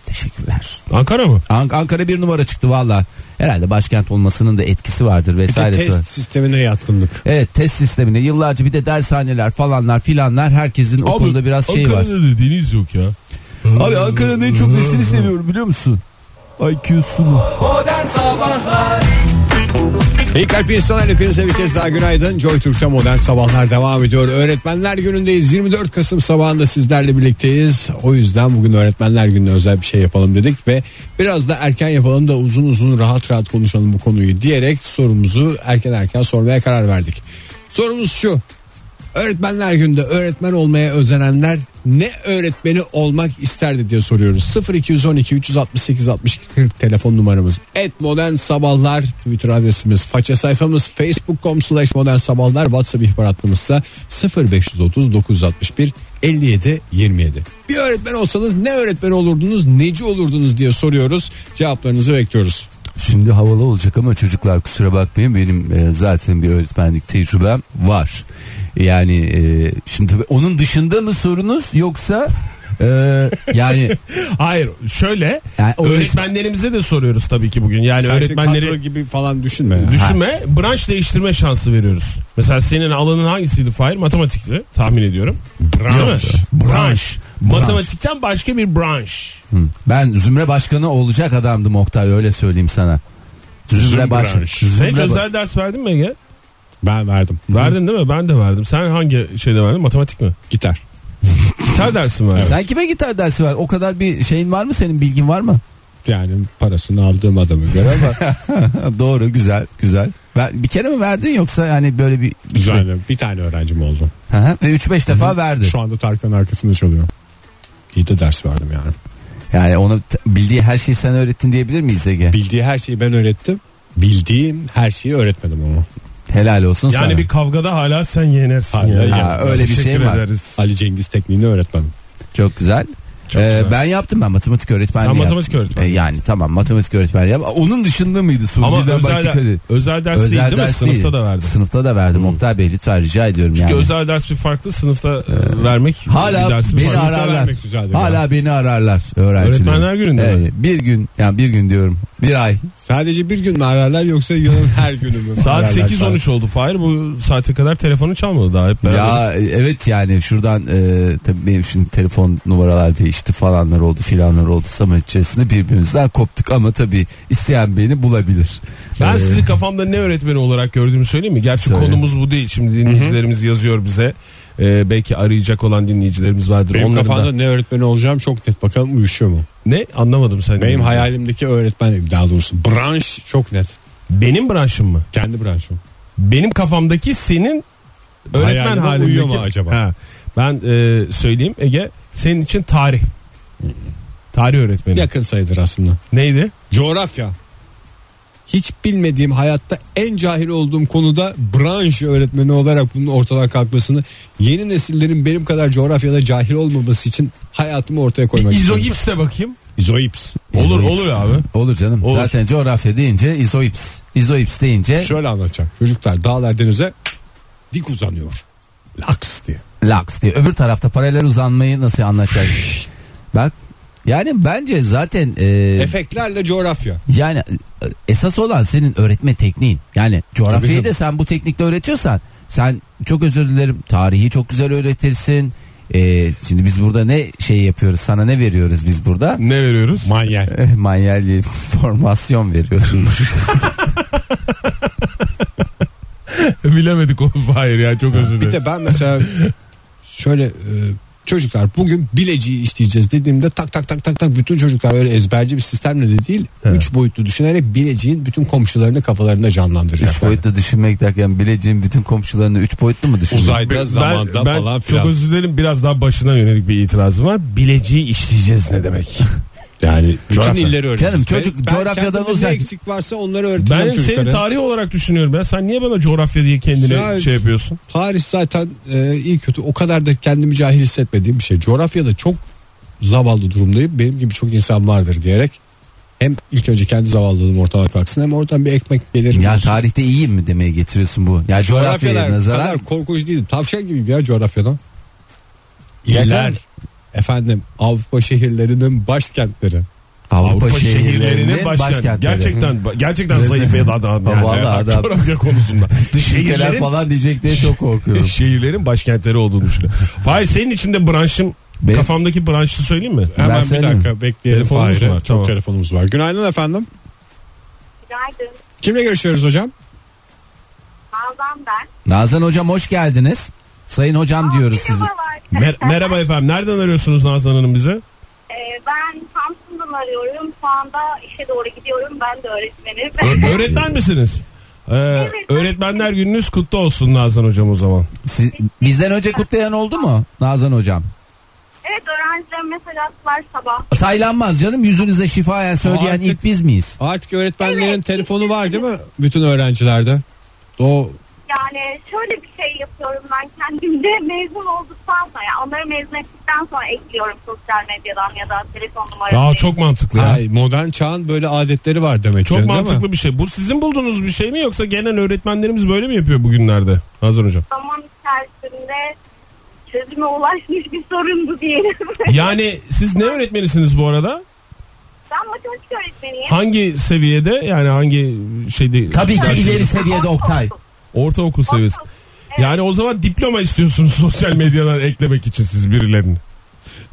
Teşekkürler.
Ankara mı?
An- Ankara bir numara çıktı valla. Herhalde başkent olmasının da etkisi vardır
Bir de
vesairesi.
test sistemine yatkınlık.
Evet test sistemine yıllarca bir de dershaneler falanlar filanlar herkesin o konuda biraz şey var.
Ankara'da deniz yok ya.
Abi Ankara'nın en çok nesini seviyorum biliyor musun? IQ'sunu.
Modern Sabahlar
İyi kalp insanlar hepinize bir kez daha günaydın. Joy Türk'te modern sabahlar devam ediyor. Öğretmenler günündeyiz. 24 Kasım sabahında sizlerle birlikteyiz. O yüzden bugün öğretmenler gününe özel bir şey yapalım dedik ve biraz da erken yapalım da uzun uzun rahat rahat konuşalım bu konuyu diyerek sorumuzu erken erken sormaya karar verdik. Sorumuz şu. Öğretmenler günde öğretmen olmaya özenenler ne öğretmeni olmak isterdi diye soruyoruz. 0212 368 62 40 telefon numaramız. Et modern sabahlar Twitter adresimiz. Faça sayfamız facebook.com slash modern sabahlar. WhatsApp ihbaratımızsa 0530 961 57 27. Bir öğretmen olsanız ne öğretmen olurdunuz, neci olurdunuz diye soruyoruz. Cevaplarınızı bekliyoruz.
Şimdi havalı olacak ama çocuklar kusura bakmayın benim e, zaten bir öğretmenlik tecrübem var. Yani e, şimdi tabii onun dışında mı sorunuz yoksa e, yani,
Hayır şöyle
yani o-
öğretmenlerimize de soruyoruz tabii ki bugün. Yani
Sen şimdi kadro
öğretmenleri
gibi falan düşünme. ya.
düşünme branş değiştirme şansı veriyoruz. Mesela senin alanın hangisiydi Fahir? Matematikti tahmin ediyorum. Branş. Branş. Matematikten başka bir branş.
Hı. ben Zümre Başkanı olacak adamdım Oktay öyle söyleyeyim sana. Zümre,
Zümre
Başkanı.
Branş.
Sen hiç
Zümre ba-
özel ders verdin mi Ege?
Ben verdim.
Verdin değil mi? Ben de verdim. Sen hangi şeyde verdin? Matematik mi?
Gitar.
Gitar dersi mi verdin?
Sen kime gitar dersi ver? O kadar bir şeyin var mı senin bilgin var mı? [LAUGHS]
Yani parasını aldığım adamı göre ama
Doğru güzel güzel. Ver- bir kere mi verdin yoksa yani böyle bir...
Güzel. Bir tane öğrencim oldu.
Hı hı. Ve 3-5 defa verdi.
Şu anda Tarık'tan arkasında çalıyor. İyi de ders verdim yani.
Yani ona t- bildiği her şeyi sen öğrettin diyebilir miyiz Ege?
Bildiği her şeyi ben öğrettim. Bildiğim her şeyi öğretmedim ona.
Helal olsun
Yani
sana.
bir kavgada hala sen yenersin.
Hala
yani.
yenersin.
Ha, öyle bir şey
Teşekkür
var.
ederiz.
Ali Cengiz tekniğini öğretmedim.
Çok güzel. Ee, Ben yaptım ben matematik öğretmenliği
Sen
yaptım.
matematik öğretmeni.
Ee, yani tamam matematik öğretmenliği yap. Onun dışında mıydı? Su,
Ama
birden
özel,
baktık hadi.
özel ders değil değil mi? Sınıfta da verdin.
Sınıfta da verdim Oktay Bey lütfen rica ediyorum
Çünkü
yani.
özel ders bir farklı sınıfta e, vermek bir
Hala
dersin
beni
farklı.
ararlar.
vermek güzeldir
Hala beni ararlar öğrenciler.
Öğretmenler gününde mi?
Bir gün yani bir gün diyorum. Bir ay.
Sadece bir gün mü ararlar yoksa
[LAUGHS]
yılın her günü mü?
Saat
ararlar falan?
8.13 oldu Fahir bu saate kadar telefonu çalmadı daha hep beraber.
Ya e, evet yani şuradan e, tabii benim şimdi telefon numaralar değişti falanlar oldu filanlar oldu zaman içerisinde birbirimizden koptuk ama tabii isteyen beni bulabilir.
Ben
Ee,
sizi kafamda ne öğretmeni olarak gördüğümü söyleyeyim mi? Gerçi
Söyle.
konumuz bu değil. Şimdi dinleyicilerimiz yazıyor bize. Ee, belki arayacak olan dinleyicilerimiz vardır.
Benim
Onların da- Hmm.
kafamda ne öğretmeni olacağım çok net. Bakalım uyuşuyor mu?
Ne? Anlamadım sen.
Benim hayalimdeki öğretmen daha doğrusu branş çok net.
Benim branşım mı?
Kendi branşım.
Benim kafamdaki senin öğretmen
Hayalime
halindeki.
uyuyor mu acaba?
Ha. Ben e, söyleyeyim Ege. Senin için tarih. Tarih öğretmeni.
Yakın sayıdır aslında.
Neydi?
Coğrafya. Hiç bilmediğim hayatta en cahil olduğum konuda branş öğretmeni olarak bunun ortadan kalkmasını yeni nesillerin benim kadar coğrafyada cahil olmaması için hayatımı ortaya koymak istiyorum.
İzogips'e bakayım.
İzoips.
Olur
İzoips.
olur abi.
Olur canım.
Olur.
Zaten coğrafya deyince izoips. İzoips deyince
Şöyle anlatacağım. Çocuklar dağlar denize dik uzanıyor. Laks diye.
laks diye. Öbür tarafta paralel uzanmayı nasıl anlatacak? Bak yani bence zaten e,
Efektlerle coğrafya.
yani e, esas olan senin öğretme tekniğin. Yani coğrafyayı
Tabii
da sen bu teknikle öğretiyorsan sen çok özür dilerim tarihi çok güzel öğretirsin. E, şimdi biz burada ne şey yapıyoruz sana ne veriyoruz biz burada?
Ne veriyoruz?
Manyak.
Eh, Manyel [LAUGHS] diye formasyon veriyoruz.
[LAUGHS] Bilemedik onu Fahir ya çok özür
Bir
dilerim.
de ben mesela şöyle e, çocuklar bugün bileciği işleyeceğiz dediğimde tak tak tak tak tak bütün çocuklar öyle ezberci bir sistemle de değil. Üç boyutlu düşünerek bileciğin bütün komşularını kafalarında canlandıracaklar.
üç boyutlu düşünmek derken bileceğim bütün komşularını üç boyutlu mu düşünmek?
Uzayda
Ben-
zamanda
ben
falan
çok
filan.
özür dilerim biraz daha başına yönelik bir itirazım var. Bileceği işleyeceğiz ne demek?
[LAUGHS] yani bütün
Coğrafya.
illeri öğreteceğiz.
Canım çocuk
Ben- ben
coğrafyadan
kendimde
uzak.
Ne eksik varsa onları öğreteceğim
ben
çocuklara.
seni tarih olarak düşünüyorum ya. Sen niye bana coğrafya diye kendine
Ya-
şey yapıyorsun?
Tarih zaten e, iyi kötü o kadar da kendimi cahil hissetmediğim bir şey. Coğrafyada çok zavallı durumdayım. Benim gibi çok insan vardır diyerek hem ilk önce kendi zavallılığım ortadan kalksın hem oradan bir ekmek gelir.
Ya tarihte iyiyim mi demeye getiriyorsun bu? Ya coğrafyaya
Coğrafyalar
nazaran
kadar korkunç değilim. Tavşan gibiyim ya coğrafyadan.
Yeter.
İller. Efendim Avrupa şehirlerinin başkentleri.
Avrupa, şehirlerinin
şehirlerinin başkent-
başkentleri.
Gerçekten gerçekten zayıf ya da adam yani.
Vallahi adam.
Coğrafya konusunda.
[LAUGHS] Dış ülkeler
Şehirlerin-
falan diyecek diye çok korkuyorum.
[LAUGHS] Şehirlerin başkentleri olduğunu düşünüyorum. Hayır senin için de branşın
Benim-
kafamdaki branşı söyleyeyim mi?
Ben
Hemen bir
söyleyeyim.
dakika bekleyelim.
Telefonumuz
Fahir'e.
var,
Çok
tamam.
telefonumuz var. Günaydın efendim.
Günaydın.
Kimle görüşüyoruz hocam?
Nazan ben.
Nazan hocam hoş geldiniz. Sayın hocam diyoruz sizi.
Merhabalar.
Mer- merhaba efendim. Nereden arıyorsunuz Nazan Hanım bize?
Ee, ben Samsun'dan arıyorum. Şu anda işe doğru gidiyorum. Ben de öğretmenim.
Ö- öğretmen misiniz? Ee, öğretmenler gününüz kutlu olsun Nazan Hocam o zaman.
Siz, bizden önce kutlayan oldu mu Nazan hocam?
[LAUGHS] evet öğrencilerim mesela var sabah.
Saylanmaz canım yüzünüze şifayen söyleyen
Artık-
ilk biz miyiz?
Artık öğretmenlerin
Evet.
telefonu var değil mi? Bütün öğrencilerde. O
Yani şöyle bir şey yapıyorum ben kendimde [LAUGHS] mezun olduktan sonra. Yani onları mezun ettikten sonra ekliyorum sosyal medyadan ya da telefon numarasını.
Aa çok mantıklı ya.
ay, modern çağın böyle adetleri var demek.
Çok
canım, değil mi?
mantıklı bir şey. Bu sizin bulduğunuz bir şey mi yoksa genel öğretmenlerimiz böyle mi yapıyor bugünlerde? Nazan Hocam.
Zaman içerisinde çözüme ulaşmış bir sorundu diyelim. [LAUGHS]
Yani siz ne öğretmenisiniz bu arada?
ben matematik öğretmeniyim.
Hangi seviyede yani hangi şeyde?
Tabii ki
Ben-
ileri seviyede Oktay.
Ortaokul seviyesi.
Evet.
Yani o zaman diploma istiyorsunuz [LAUGHS] sosyal medyadan eklemek için siz birilerini.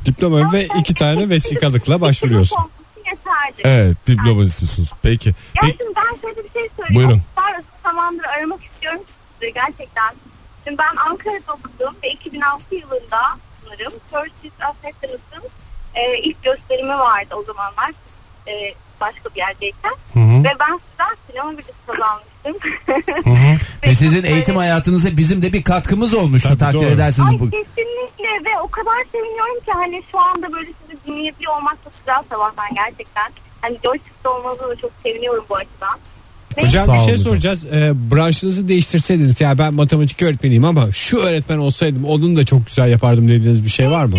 Diploma ve iki
şey
tane vesikalıkla başvuruyorsun.
Yeterli.
Evet diploma istiyorsunuz. Peki.
Ya
Peki.
şimdi ben şöyle bir şey söyleyeyim.
Buyurun.
Sarı zamandır aramak istiyorum sizi gerçekten. Şimdi ben Ankara'da okudum ve 2006 yılında sanırım First African'ın e, ilk gösterimi vardı o zamanlar. E, başka bir yerdeyken. Ve ben sizden sinema bilgisi kazanmıştım. çalıştım. [LAUGHS]
Ve sizin eğitim hayatınıza bizim de bir katkımız olmuştu takdir
doğru.
edersiniz
Ay
bu.
kesinlikle ve o kadar seviniyorum ki hani şu anda böyle sizi dinleyebiliyor olmak çok güzel sabahtan gerçekten. Hani Joystick'te olmanıza da çok seviniyorum bu açıdan. Neyse,
Hocam
Sağ
bir şey
olun hocam.
soracağız. Ee, branşınızı değiştirseydiniz ya ben matematik öğretmeniyim ama şu öğretmen olsaydım onun da çok güzel yapardım dediğiniz bir şey var mı?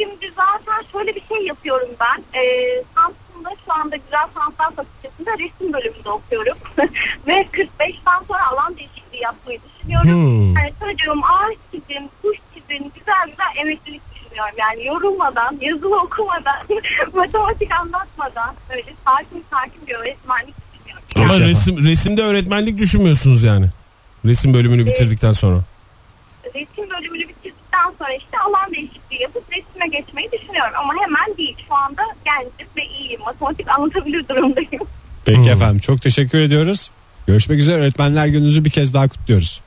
Şimdi zaten şöyle bir şey yapıyorum ben. Ee, Samsun'da şu anda Güzel Sanatlar Fakültesi'nde resim bölümünde okuyorum. [LAUGHS] Ve 45'ten sonra alan değişikliği yapmayı düşünüyorum.
Hmm.
Yani çocuğum ağaç çizim, kuş çizim, güzel güzel emeklilik düşünüyorum. Yani yorulmadan, yazılı okumadan, [LAUGHS] matematik anlatmadan böyle sakin sakin bir öğretmenlik düşünüyorum. Yani
Ama resim, resimde öğretmenlik düşünmüyorsunuz yani. Resim bölümünü bitirdikten sonra.
resim bölümünü bitirdikten sonra işte alan değişikliği yapıp resime geçmeyi düşünüyorum. Ama hemen değil. Şu anda geldim ve iyiyim. Matematik anlatabilir durumdayım.
Peki efendim çok teşekkür ediyoruz. Görüşmek üzere öğretmenler gününüzü bir kez daha kutluyoruz.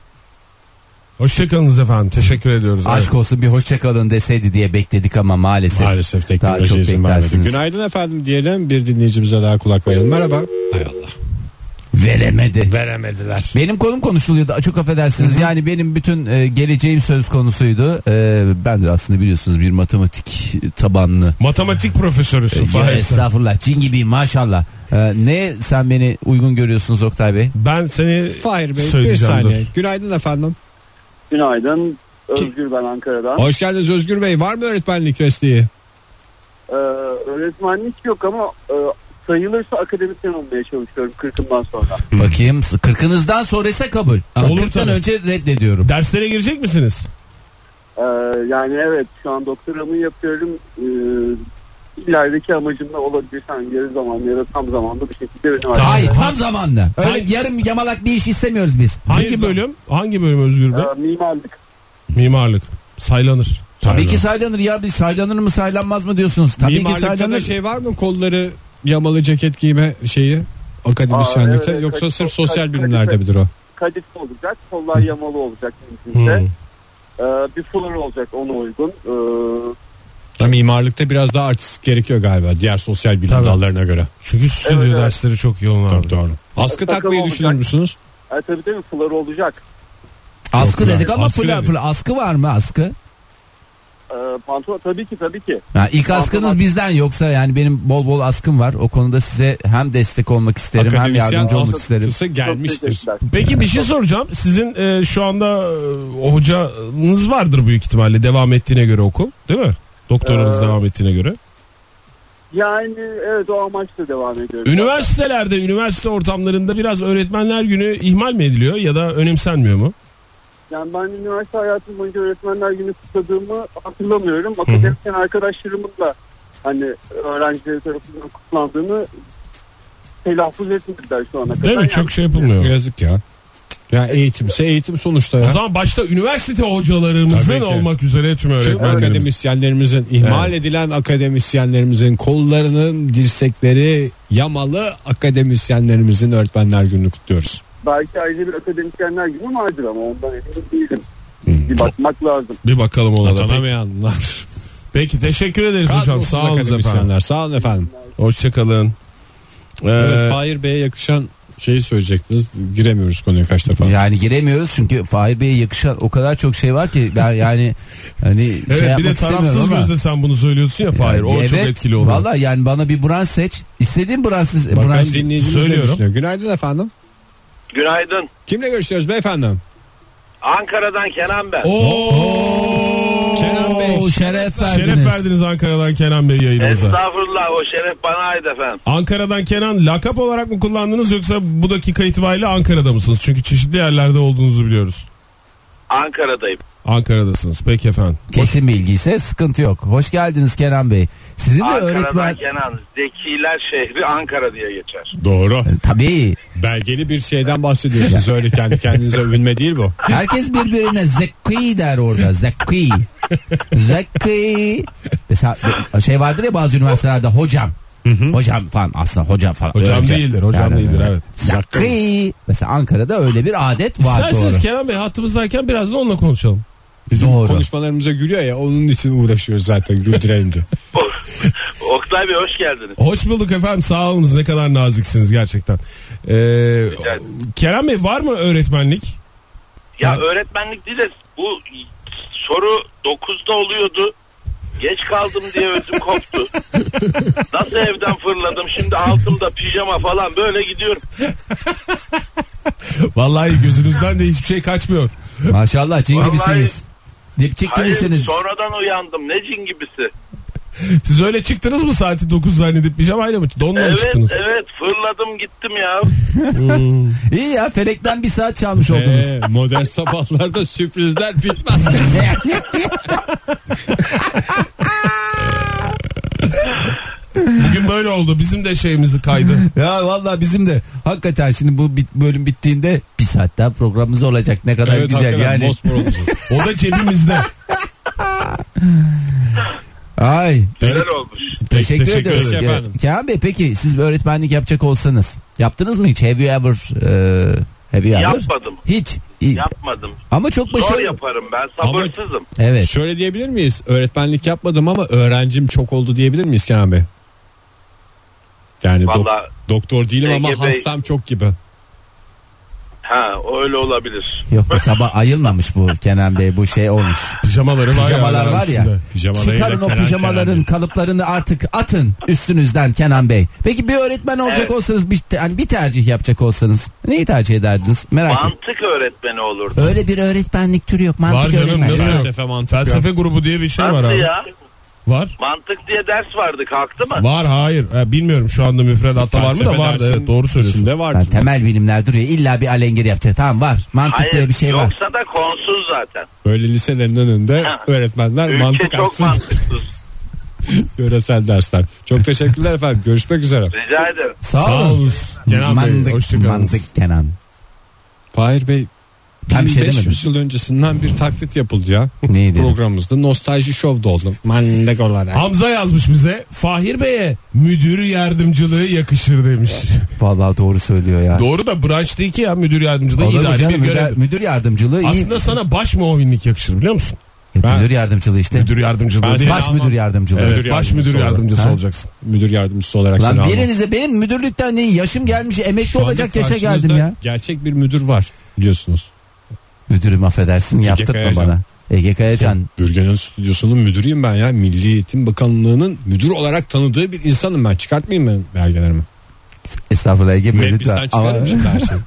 Hoşçakalınız efendim. Teşekkür ediyoruz.
Aşk olsun bir hoşçakalın deseydi diye bekledik ama maalesef.
Maalesef
Daha çok
teknoloji izin vermedi.
beklersiniz.
Günaydın efendim diyelim bir dinleyicimize daha kulak verelim. Merhaba. Hay Allah.
Veremedi.
Veremediler.
Benim konum konuşuluyordu çok affedersiniz yani benim bütün e, geleceğim söz konusuydu. E, ben de aslında biliyorsunuz bir matematik tabanlı. E,
Matematik profesörüsün
Ya
Fahir.
estağfurullah cin gibi maşallah. E, ne sen beni uygun görüyorsunuz Oktay Bey?
Ben seni
Fahir Bey bir
Söyleyeceğim,
saniye. Günaydın efendim.
Günaydın. Özgür ben Ankara'dan.
Hoş geldiniz Özgür Bey. Var mı öğretmenlik mesleği?
Ee, öğretmenlik yok ama e, sayılırsa akademisyen olmaya çalışıyorum 40'ımdan sonra.
Bakayım kırkınızdan sonrası kabul. Ama
Olur
40'tan
tabii.
önce reddediyorum.
derslere girecek misiniz?
Ee, yani evet şu an doktoramı yapıyorum. Ee, ilerideki amacım da olabilir. Hani yarı zaman ya da tam zamanda bir şekilde üniversite.
Hayır tam zamanlı. Öyle
Hayır.
yarım yamalak bir iş istemiyoruz biz.
Hangi bölüm? Hangi bölüm Özgür Bey?
Ee, mimarlık.
Mimarlık. Saylanır.
Tabii ki saylanır ya biz saylanır mı saylanmaz mı diyorsunuz. Tabii ki
Mimarlıkta da
saylanır.
şey var mı kolları yamalı ceket giyme şeyi akademisyenlikte
Aa, evet,
yoksa
kaç-
sırf
kaç-
sosyal
kaç-
bilimlerde midir o?
Kadife olacak. Kollar yamalı olacak mümkünse. Ee, bir fular olacak ona uygun. Ee,
Ya mimarlıkta biraz daha artistik gerekiyor galiba diğer sosyal bilim
Tabii.
dallarına göre.
Çünkü stüdyo
Evet, evet.
dersleri çok yoğun
Doğru
abi.
doğru. Askı
Takım
takmayı
olacak.
düşünür müsünüz?
e, tabii tabii fular olacak.
Askı
Yok,
dedik ama
askı
fula
dedik.
fula. Askı var mı askı?
Ee, pantolon tabii ki tabii ki.
Ha, ilk askınız
Askı var.
bizden yoksa yani benim bol bol askım var. O konuda size hem destek olmak isterim hem
Akademisyen
yardımcı olmak isterim.
askısı
Çok
gelmiştir.
teşekkürler.
Peki bir şey soracağım. Sizin e, şu anda e, o hocanız vardır büyük ihtimalle devam ettiğine göre okul, değil mi? Doktoranız
Ee,
devam ettiğine göre.
Yani evet o amaçla devam ediyorum.
Üniversitelerde, üniversite ortamlarında biraz öğretmenler günü ihmal mi ediliyor ya da önemsenmiyor mu?
Yani ben üniversite hayatım boyunca öğretmenler günü kutladığımı hatırlamıyorum. Akademisyen arkadaşlarımın da hani öğrencileri tarafından kutlandığını telaffuz etmediler şu ana kadar.
Değil mi?
Yani
Çok şey yapılmıyor.
Yazık ya. Ya eğitimse eğitim sonuçta
O
ya.
zaman başta üniversite hocalarımızın
Tabii ki.
olmak üzere tüm
Tüm
öğretmenlerimiz.
akademisyenlerimizin ihmal edilen akademisyenlerimizin kollarının dirsekleri yamalı akademisyenlerimizin öğretmenler gününü kutluyoruz.
Belki ayrıca bir akademisyenler günü vardır ama ondan emin değilim. Bir bakmak lazım.
Bir bakalım ona da. Peki,
Atanamayanlar.
peki, teşekkür ederiz hocam.
Kadrosuz
Sağ olun efendim.
akademisyenler. Sağ olun efendim.
Hoşçakalın. Ee,
Evet, Fahir Bey'e yakışan şeyi söyleyecektiniz. Giremiyoruz konuya kaç defa.
Yani giremiyoruz çünkü Fahir Bey'e yakışan o kadar çok şey var ki ben yani hani şey
evet bir de
yapmak istemiyorum
tarafsız
ama.
gözle sen bunu söylüyorsun ya Fahir. O çok
Evet,
etkili oluyor.
Valla yani bana bir branş seç. İstediğin branşı,
Bakalım
branş
dinleyicimiz ne
söylüyorum.
düşünüyor. Günaydın efendim.
Günaydın.
Kimle görüşüyoruz beyefendi?
Ankara'dan Kenan ben.
Oo!
Kenan Bey.
Oo, şeref verdiniz.
Şeref verdiniz Ankara'dan Kenan Bey yayınımıza.
Estağfurullah o şeref bana ait efendim.
Ankara'dan Kenan lakap olarak mı kullandınız yoksa bu dakika itibariyle Ankara'da mısınız? Çünkü çeşitli yerlerde olduğunuzu biliyoruz.
Ankara'dayım.
Ankara'dasınız. Peki efendim.
Kesin bilgi ise sıkıntı yok. Hoş geldiniz Kenan Bey. Sizin de
Ankara'dan
öğretmen...
Kenan. Zekiler şehri Ankara diye geçer.
Doğru.
E,
E, Tabii.
Belgeli bir şeyden bahsediyorsunuz. Öyle kendi kendinize övünme değil bu.
Herkes birbirine zeki der orada. Zeki. zeki. Mesela şey vardır ya bazı üniversitelerde hocam. Hocam falan aslında hocam falan.
Hocam değildir, hocam değildir, evet.
Zeki. Mesela Ankara'da öyle bir adet var
İsterseniz
doğru.
Kenan Bey hattımızdayken biraz da onunla konuşalım.
Bizim
Doğru.
konuşmalarımıza gülüyor ya onun için uğraşıyoruz zaten güldürelim diye.
O, Oktay Bey hoş geldiniz.
Hoş bulduk efendim sağ olunuz ne kadar naziksiniz gerçekten. Ee, Kerem Bey var mı öğretmenlik?
Ya öğretmenlik değil de bu soru 9'da oluyordu. Geç kaldım diye ödüm koptu. Nasıl evden fırladım şimdi altımda pijama falan böyle gidiyorum.
Vallahi gözünüzden de hiçbir şey kaçmıyor.
Maşallah cin
Vallahi-
gibisiniz. Dipçik
Hayır
gibisiniz.
sonradan uyandım ne cin gibisi.
Siz öyle çıktınız mı saati 9 zannedip pijamayla mı? Donla mı
Evet
çıktınız?
evet fırladım gittim ya.
İyi ya felekten bir saat çalmış oldunuz.
Ee, modern sabahlarda sürprizler bitmez.
Bugün böyle oldu bizim de şeyimizi kaydı.
Ya vallahi bizim de hakikaten şimdi bu bit- bölüm bittiğinde bir saat daha programımız olacak. Ne kadar
Evet,
güzel
hakikaten
yani.
mosmor
[LAUGHS]
olmuşuz.
O da
[LAUGHS]
cebimizde.
Ay
Güzel olmuş.
teşekkür,
teşekkür
ediyoruz.
ederiz
Ya-
efendim.
Kenan Bey peki siz bir öğretmenlik yapacak olsanız yaptınız mı hiç? Have you ever? e, have you ever?
Yapmadım.
Hiç. İyi.
Yapmadım.
Ama çok
Zor
başarılı.
yaparım ben sabırsızım.
Evet.
Şöyle diyebilir miyiz? Öğretmenlik yapmadım ama öğrencim çok oldu diyebilir miyiz Kenan Bey? Yani dok-
Vallahi-
doktor değilim ama
Ege Bey-
hastam çok gibi.
Ha öyle olabilir.
Yok da sabah ayılmamış bu Kenan Bey bu şey olmuş.
Pijamaları var
Pijamalar
ya.
var ya.
üstünde.
Pijamadayı da
Çıkarın o
Kenan
pijamaların
Kenan
kalıplarını artık atın üstünüzden Kenan Bey. Peki bir öğretmen olacak
Evet.
olsanız bir, te- hani bir tercih yapacak olsanız neyi tercih ederdiniz? Merak ettim.
Mantık öğretmeni olurdu.
Öyle bir öğretmenlik türü yok. Mantık
Var canım,
öğretmenliği
nasıl?
yok.
Felsefe mantık.
Felsefe grubu diye bir şey var
Nasıl
abi.
ya?
Var.
Mantık diye ders vardı kalktı mı?
Var hayır. Ha, bilmiyorum şu anda müfredatta var mı da
Felsefe
vardı.
dersinin
Evet, doğru söylüyorsun.
içinde vardır.
Yani temel bilimler duruyor. İlla bir alengir yapacak. Tamam var. Mantık diye bir şey var.
yoksa da konsuz zaten.
Böyle liselerin önünde
Ha.
öğretmenler
Ülke
mantık
çok
alsın
mantıksız.
yöresel dersler. Çok teşekkürler efendim. Görüşmek üzere.
Rica ederim.
Sağ
Sağ
olun.
olun. Kenan Bey
mantık,
hoşçakalın.
mantık Kenan.
Fahir Bey
Ben bir şey
1500 yıl öncesinden bir taklit yapıldı ya.
Neydi?
Programımızda nostalji şovda oldum. Mandek olarak.
Hamza yazmış bize. Fahir Bey'e müdürü yardımcılığı yakışır demiş.
Vallahi doğru söylüyor ya.
Doğru da branş değil ki ya müdür yardımcılığı
Olur mu
idari
canım?
bir
müdür,
görev.
müdür yardımcılığı iyi.
şey.
E,
Aslında sana baş muavinlik yakışır biliyor musun?
müdür yardımcılığı işte.
Müdür yardımcılığı.
Ben
değil.
seni
Baş
almam.
müdür yardımcılığı.
Evet,
müdür
baş
yardımcısı
müdür
olarak.
yardımcısı
Ha?
olacaksın.
Müdür yardımcısı olarak seni
Lan
almam.
birinize benim müdürlükten değil yaşım gelmiş emekli
Şu anda
olacak yaşa
karşınızda
geldim ya.
Gerçek bir müdür var biliyorsunuz.
Müdürüm affedersin yaptırtma
Kayacan. Şey,
bana. Ege Kayacan
Bürgen'in stüdyosunun müdürüyüm ben ya. Milli Eğitim Bakanlığı'nın müdür olarak tanıdığı bir insanım ben. Çıkartmayayım mı belgelerimi?
estağfurullah Ege Bey
Meclisten
lütfen. Ama,
çıkarım şimdi her şeyi.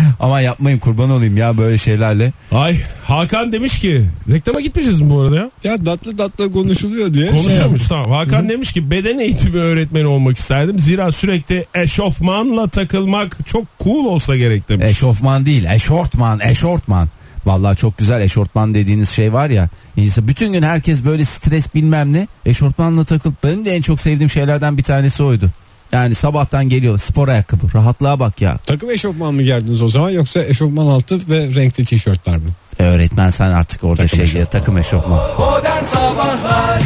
[LAUGHS] ama yapmayın kurban olayım ya böyle şeylerle.
[LAUGHS] Ay Hakan demiş ki reklama gitmişiz mi bu arada ya?
Ya tatlı tatlı konuşuluyor diye. şey
Konuşuyormuş tamam. Hakan demiş ki beden eğitimi öğretmeni olmak isterdim. Zira sürekli eşofmanla takılmak çok cool olsa gerek demiş.
Eşofman değil eşortman eşortman. Vallahi çok güzel eşortman dediğiniz şey var ya. insan bütün gün herkes böyle stres bilmem ne. Eşortmanla takılıp benim de en çok sevdiğim şeylerden bir tanesi oydu. Yani sabahtan geliyor spor ayakkabı rahatlığa bak ya.
Takım eşofman mı gerdiniz o zaman yoksa eşofman altı ve renkli tişörtler mi?
Öğretmen sen artık orada
Takım
şey
eşofman.
takım eşofman.
Modern Sabahlar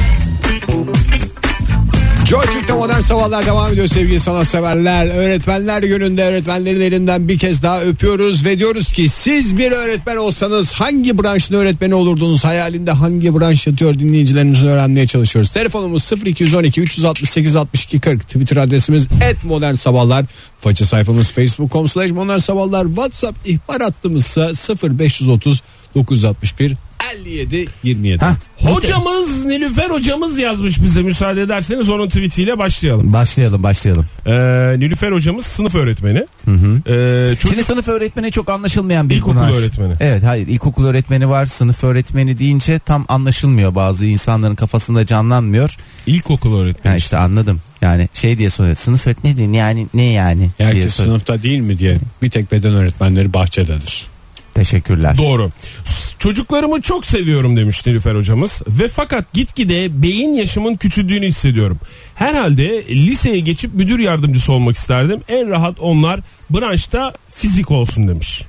Joy Türk'te modern sabahlar devam ediyor sevgili sanatseverler. Öğretmenler gününde öğretmenlerin elinden bir kez daha öpüyoruz ve diyoruz ki siz bir öğretmen olsanız hangi branşın öğretmeni olurdunuz? Hayalinde hangi branş yatıyor dinleyicilerimizin öğrenmeye çalışıyoruz. Telefonumuz 0212 368 62 40 Twitter adresimiz et modern sabahlar. Faça sayfamız facebook.com slash modern sabahlar. Whatsapp ihbar hattımızsa 0530 961 57 27.
Hah,
Hocamız Nilüfer hocamız yazmış bize müsaade ederseniz onun tweetiyle başlayalım.
Başlayalım başlayalım.
Ee, Nilüfer hocamız sınıf öğretmeni. Ee, çocuk-
Şimdi sınıf öğretmeni çok anlaşılmayan bir
İlkokul
konu.
öğretmeni.
Evet hayır ilkokul öğretmeni var sınıf öğretmeni deyince tam anlaşılmıyor bazı insanların kafasında canlanmıyor.
İlkokul öğretmeni.
Ya işte anladım yani şey diye soruyor sınıf öğretmeni değil, yani ne yani diye
Herkes
soruyor.
sınıfta değil mi diye bir tek beden öğretmenleri bahçededir.
Teşekkürler.
Doğru. S- Çocuklarımı çok seviyorum demiş Nilüfer hocamız. Ve fakat gitgide beyin yaşımın küçüldüğünü hissediyorum. Herhalde liseye geçip müdür yardımcısı olmak isterdim. En rahat onlar branşta fizik olsun demiş.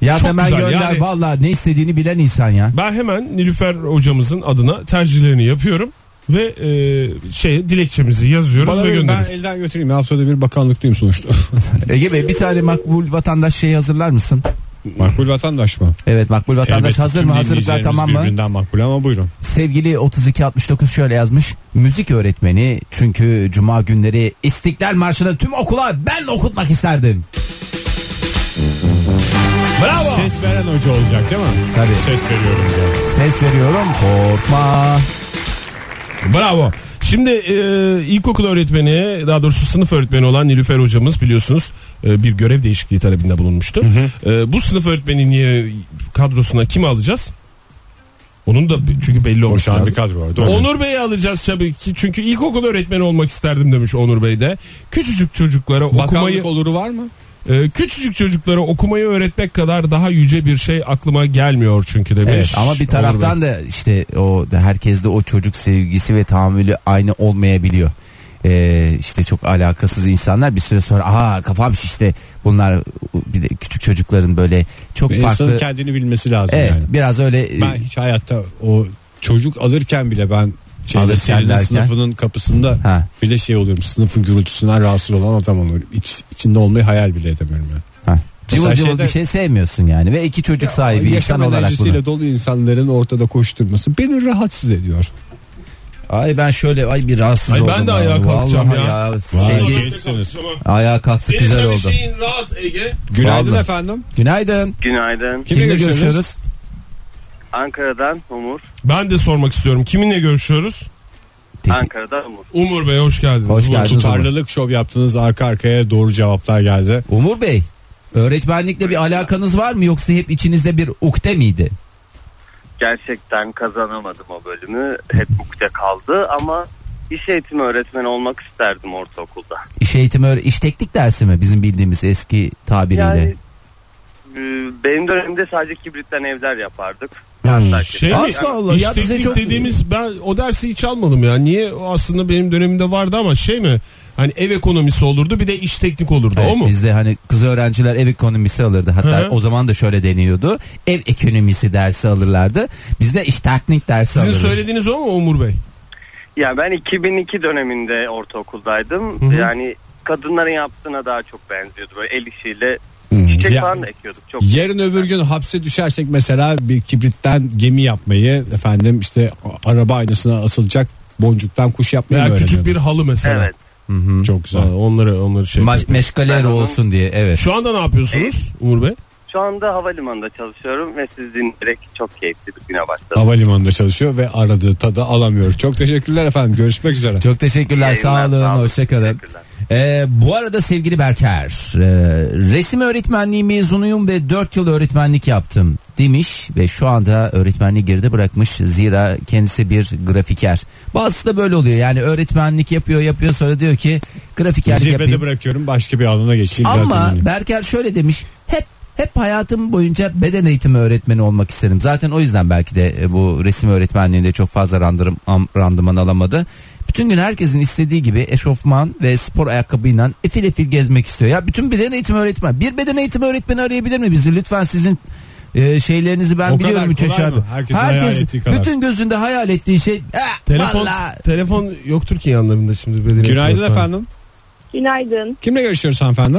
ya
Çok
hemen
güzel,
gönder
yani-
valla ne istediğini bilen insan ya.
Ben hemen Nilüfer hocamızın adına tercihlerini yapıyorum. Ve e, şey dilekçemizi yazıyoruz
Bana
ve
verin, ben
gönderiyoruz.
elden götüreyim. ya. Haftada bir bakanlıktayım sonuçta.
Ege Bey bir tane makbul vatandaş şeyi hazırlar mısın?
[LAUGHS] Makbul vatandaş mı?
Evet makbul vatandaş
Elbette
hazır
tüm
mı? Hazırlıklar
dinleyicilerimiz
tamam mı?
Birbirinden makbul ama buyurun.
Sevgili 3269 şöyle yazmış. Müzik öğretmeni çünkü cuma günleri İstiklal Marşı'nı tüm okula ben okutmak isterdim.
Bravo. Ses veren hoca olacak değil mi?
Tabii.
Ses veriyorum ya.
Ses veriyorum korkma.
Bravo. Şimdi e, ilkokul öğretmeni daha doğrusu sınıf öğretmeni olan Nilüfer hocamız biliyorsunuz e, bir görev değişikliği talebinde bulunmuştu. E, bu sınıf öğretmeninin yeri- kadrosuna kim alacağız? Onun da bi- çünkü belli olmuş
Boşan
lazım.
bir kadro var. Doğru.
Onur Bey'i alacağız tabii ki çünkü ilkokul öğretmeni olmak isterdim demiş Onur Bey de. Küçücük çocuklara okumayı
Bakanlık oluru var mı?
e, küçücük çocuklara okumayı öğretmek kadar daha yüce bir şey aklıma gelmiyor çünkü demiş.
Evet ama bir
Onur Bey.
taraftan da işte o herkeste o çocuk sevgisi ve tahammülü aynı olmayabiliyor. Ee, işte çok alakasız insanlar bir süre sonra aha kafam şişti. Bunlar bir de küçük çocukların böyle çok
İnsanın
farklı.
kendini bilmesi lazım
Evet
yani.
biraz öyle. e,
Ben hiç hayatta o çocuk alırken bile ben şeyde,
Alırken
senin
derken?
sınıfının kapısında
Ha.
bile şey oluyorum. Sınıfın gürültüsünden rahatsız olan adam oluyorum. İç, içinde olmayı hayal bile edemiyorum yani.
Ha. Cıvıl
Mesela
cıvıl
şeyde-
bir şey sevmiyorsun yani ve iki çocuk sahibi insan
Yaşam
olarak bunu.
enerjisiyle dolu insanların ortada koşturması beni rahatsız ediyor.
Ay ben şöyle ay bir rahatsız
Ay ben
oldum.
de
ya.
ayağa kalkacağım
Vallahi
ya.
sevgi- ayağa kalktı
Senin
güzel
de bir
oldu.
şeyin rahat Ege.
Günaydın
Vallahi.
efendim.
Günaydın.
Günaydın.
Kimle,
Kimle
görüşüyoruz?
görüşüyoruz?
Ankara'dan Umur.
Ben de sormak istiyorum. Kiminle görüşüyoruz?
Tetik-
Ankara'dan Umur.
Umur Bey hoş geldiniz.
Hoş
Bu
geldiniz.
Tutarlılık şov yaptığınız arka arkaya doğru cevaplar geldi.
Umur Bey öğretmenlikle bir alakanız var mı yoksa hep içinizde bir ukde miydi?
Gerçekten kazanamadım o bölümü. Hep ukde kaldı ama iş eğitimi öğretmeni olmak isterdim ortaokulda.
İş eğitimi öyle iş teknik dersi mi bizim bildiğimiz eski tabiriyle?
Yani e, benim dönemde sadece kibritten evler yapardık.
Şey
Asla
mi?
Allah,
İş
ya bize
teknik
çok-
dediğimiz ben o dersi hiç almadım ya. Niye? O aslında benim dönemimde vardı ama şey mi? Hani ev ekonomisi olurdu bir de iş teknik olurdu
Evet,
o mu?
Bizde hani kız öğrenciler ev ekonomisi alırdı. Hatta
Hı hı.
o zaman da şöyle deniyordu. Ev ekonomisi dersi alırlardı. Bizde iş teknik dersi
Sizin
alırdı.
söylediğiniz o mu Umur Bey?
Ya ben 2002 döneminde ortaokuldaydım.
Hı hı.
Yani kadınların yaptığına daha çok benziyordu. Böyle el işiyle çiçek
Ya-
falan da ekiyorduk. Çok
Yarın öbür gün hapse düşersek mesela bir kibritten gemi yapmayı efendim işte araba aynasına asılacak boncuktan kuş yapmayı
Veya
mı
küçük bir
öğreniyoruz?
halı mesela.
Evet.
Çok güzel.
Aa, Onları onları şey.
Ma- meşgaleler
Ben onun-
olsun diye evet.
Şu anda ne yapıyorsunuz Umur Bey?
Şu anda havalimanında çalışıyorum ve siz dinleyerek çok keyifli bir güne başladım.
Havalimanında çalışıyor ve aradığı tadı alamıyor. Çok teşekkürler efendim. Görüşmek üzere.
Çok teşekkürler sağ
Yayınlar, sağ
olun
olun.
hoşçakalın.
Teşekkürler.
Ee, bu arada sevgili Berker e, resim öğretmenliği mezunuyum ve 4 yıl öğretmenlik yaptım demiş ve şu anda öğretmenliği geride bırakmış zira kendisi bir grafiker. Bazısı da böyle oluyor yani öğretmenlik yapıyor yapıyor sonra diyor ki grafikerlik
Zirvede
yapayım.
bırakıyorum başka bir alana geçeyim. biraz
Ama
dinleneyim.
Berker şöyle demiş. Hep hep hayatım boyunca beden eğitimi öğretmeni olmak isterim. Zaten o yüzden belki de e, bu resim öğretmenliğinde çok fazla randırım, am- randıman alamadı. Bütün gün herkesin istediği gibi eşofman ve spor ayakkabıyla efil efil gezmek istiyor. Ya bütün beden eğitimi öğretmen. Bir beden eğitimi öğretmeni arayabilir mi bizi? Lütfen sizin e, şeylerinizi ben
O kadar
biliyorum üç
kolay
yaş
mı?
abi.
Herkesin hayal ettiği kadar.
bütün gözünde hayal ettiği şey. "Ah,
Telefon
vallahi
telefon yoktur ki yanlarında şimdi belirli.
Günaydın efendim.
[LAUGHS] Günaydın.
Kimle görüşüyoruz hanımefendi?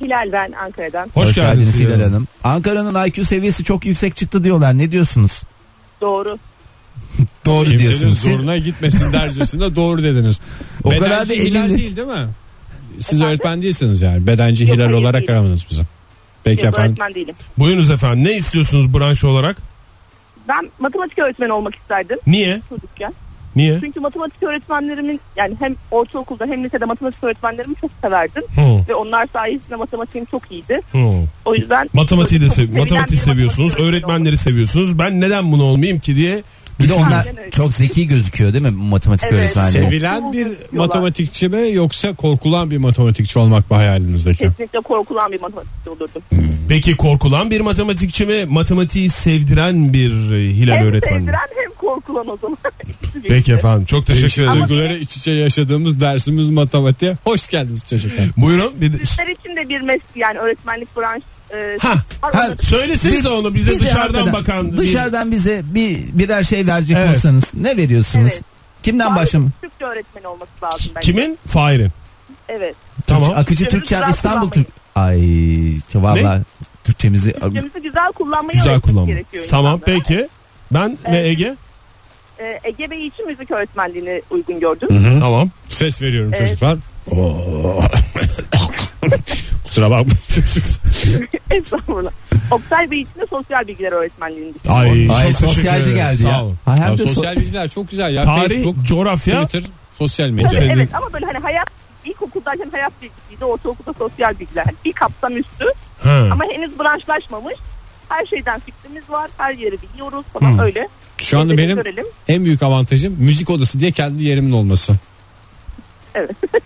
Hilal ben Ankara'dan.
Hoş, geldiniz
Hilal
Hilal Hanım.
Hanım. Ankara'nın IQ seviyesi çok yüksek çıktı diyorlar. Ne diyorsunuz?
Doğru.
Doğru
Kimsenin
diyorsunuz. Siz-
zoruna gitmesin dercesinde doğru dediniz.
O
Bedenci
kadar da
Hilal
elinde-
değil değil mi? Siz
Efendim?
öğretmen değilsiniz yani. Bedenci
Yok,
Hilal
hayır,
olarak
değilim.
aramadınız bizi. Peki
Yok,
efendim.
öğretmen değilim.
Buyurunuz efendim. Ne istiyorsunuz branş olarak?
Ben matematik öğretmeni olmak isterdim
Niye?
çocukken.
Niye?
Çünkü matematik öğretmenlerimin yani hem ortaokulda hem lisede matematik öğretmenlerimi çok severdim.
Hı.
Ve onlar sayesinde matematiğim çok iyiydi.
Hı.
O yüzden
Matematiği de
çok
sev
sevilen bir
matematiği
matematik
seviyorsunuz,
öğretmeni
öğretmenleri seviyorsunuz. Ben neden bunu olmayayım ki diye
Bir de onlar
Aynen öyle.
çok zeki gözüküyor değil mi matematik
Evet.
öğretmenleri?
Sevi-
Sevilen bir
Diyorlar.
matematikçi mi yoksa korkulan bir matematikçi olmak mı hayalinizdeki?
Kesinlikle korkulan bir matematikçi olurdum.
Peki korkulan bir matematikçi mi, matematiği sevdiren bir e, Hilal
hem
öğretmen mi?
sevdiren hem korkulan o zaman. İkisi birlikte.
Peki efendim. Çok teşekkür
Değişik
ederim.
duyguları iç içe yaşadığımız dersimiz matematiğe. Hoş geldiniz çocuklar.
Buyurun. Bir de...
Sizler için de bir meslek yani öğretmenlik branş e,
Ha.
var.
ha,
Onu-
Söylesenize onu bize, dışarıdan
hakikaten-
bakan. bir-
Dışarıdan bize bir birer şey verecek
Evet.
olsanız ne veriyorsunuz?
Evet.
Kimden
Sadece
başım?
Türkçe öğretmeni olması lazım bence.
Kimin? Fahir'in.
Evet.
Tamam.
Akıcı
Sözünüzü
Türkçe
rahat
İstanbul
kullanmayın.
Türk. Ay valla Türkçemizi
Türkçemizi güzel kullanmayı
Güzel
öğretmek
kullanma.
gerekiyor.
Tamam
insanlara.
peki. Ben ve Ege.
Ee, Ege Bey için müzik öğretmenliğini uygun gördüm.
Tamam.
Ses veriyorum
Evet.
çocuklar. Oo. [LAUGHS] Kusura bakma.
[LAUGHS] Estağfurullah. Oktay Bey için de sosyal bilgiler öğretmenliğini düşünüyorum.
Ay,
Ay
çok teşekkür
sosyalci
ederim.
geldi
Sağ
ya.
olun.
Ha, hem
Ya
de so-
sosyal bilgiler çok güzel ya.
Tarih,
Facebook,
coğrafya.
Twitter, sosyal
Tabii,
medya.
evet ama böyle hani hayat ilkokuldayken hayat bilgisiydi, ortaokulda sosyal bilgiler. Yani bir kapsam üstü
Ha.
ama henüz branşlaşmamış. Her şeyden fikrimiz var, her yeri biliyoruz falan öyle.
Şu anda
Kendini
benim
görelim.
en büyük avantajım müzik odası diye kendi yerimin olması.
Evet.
[LAUGHS]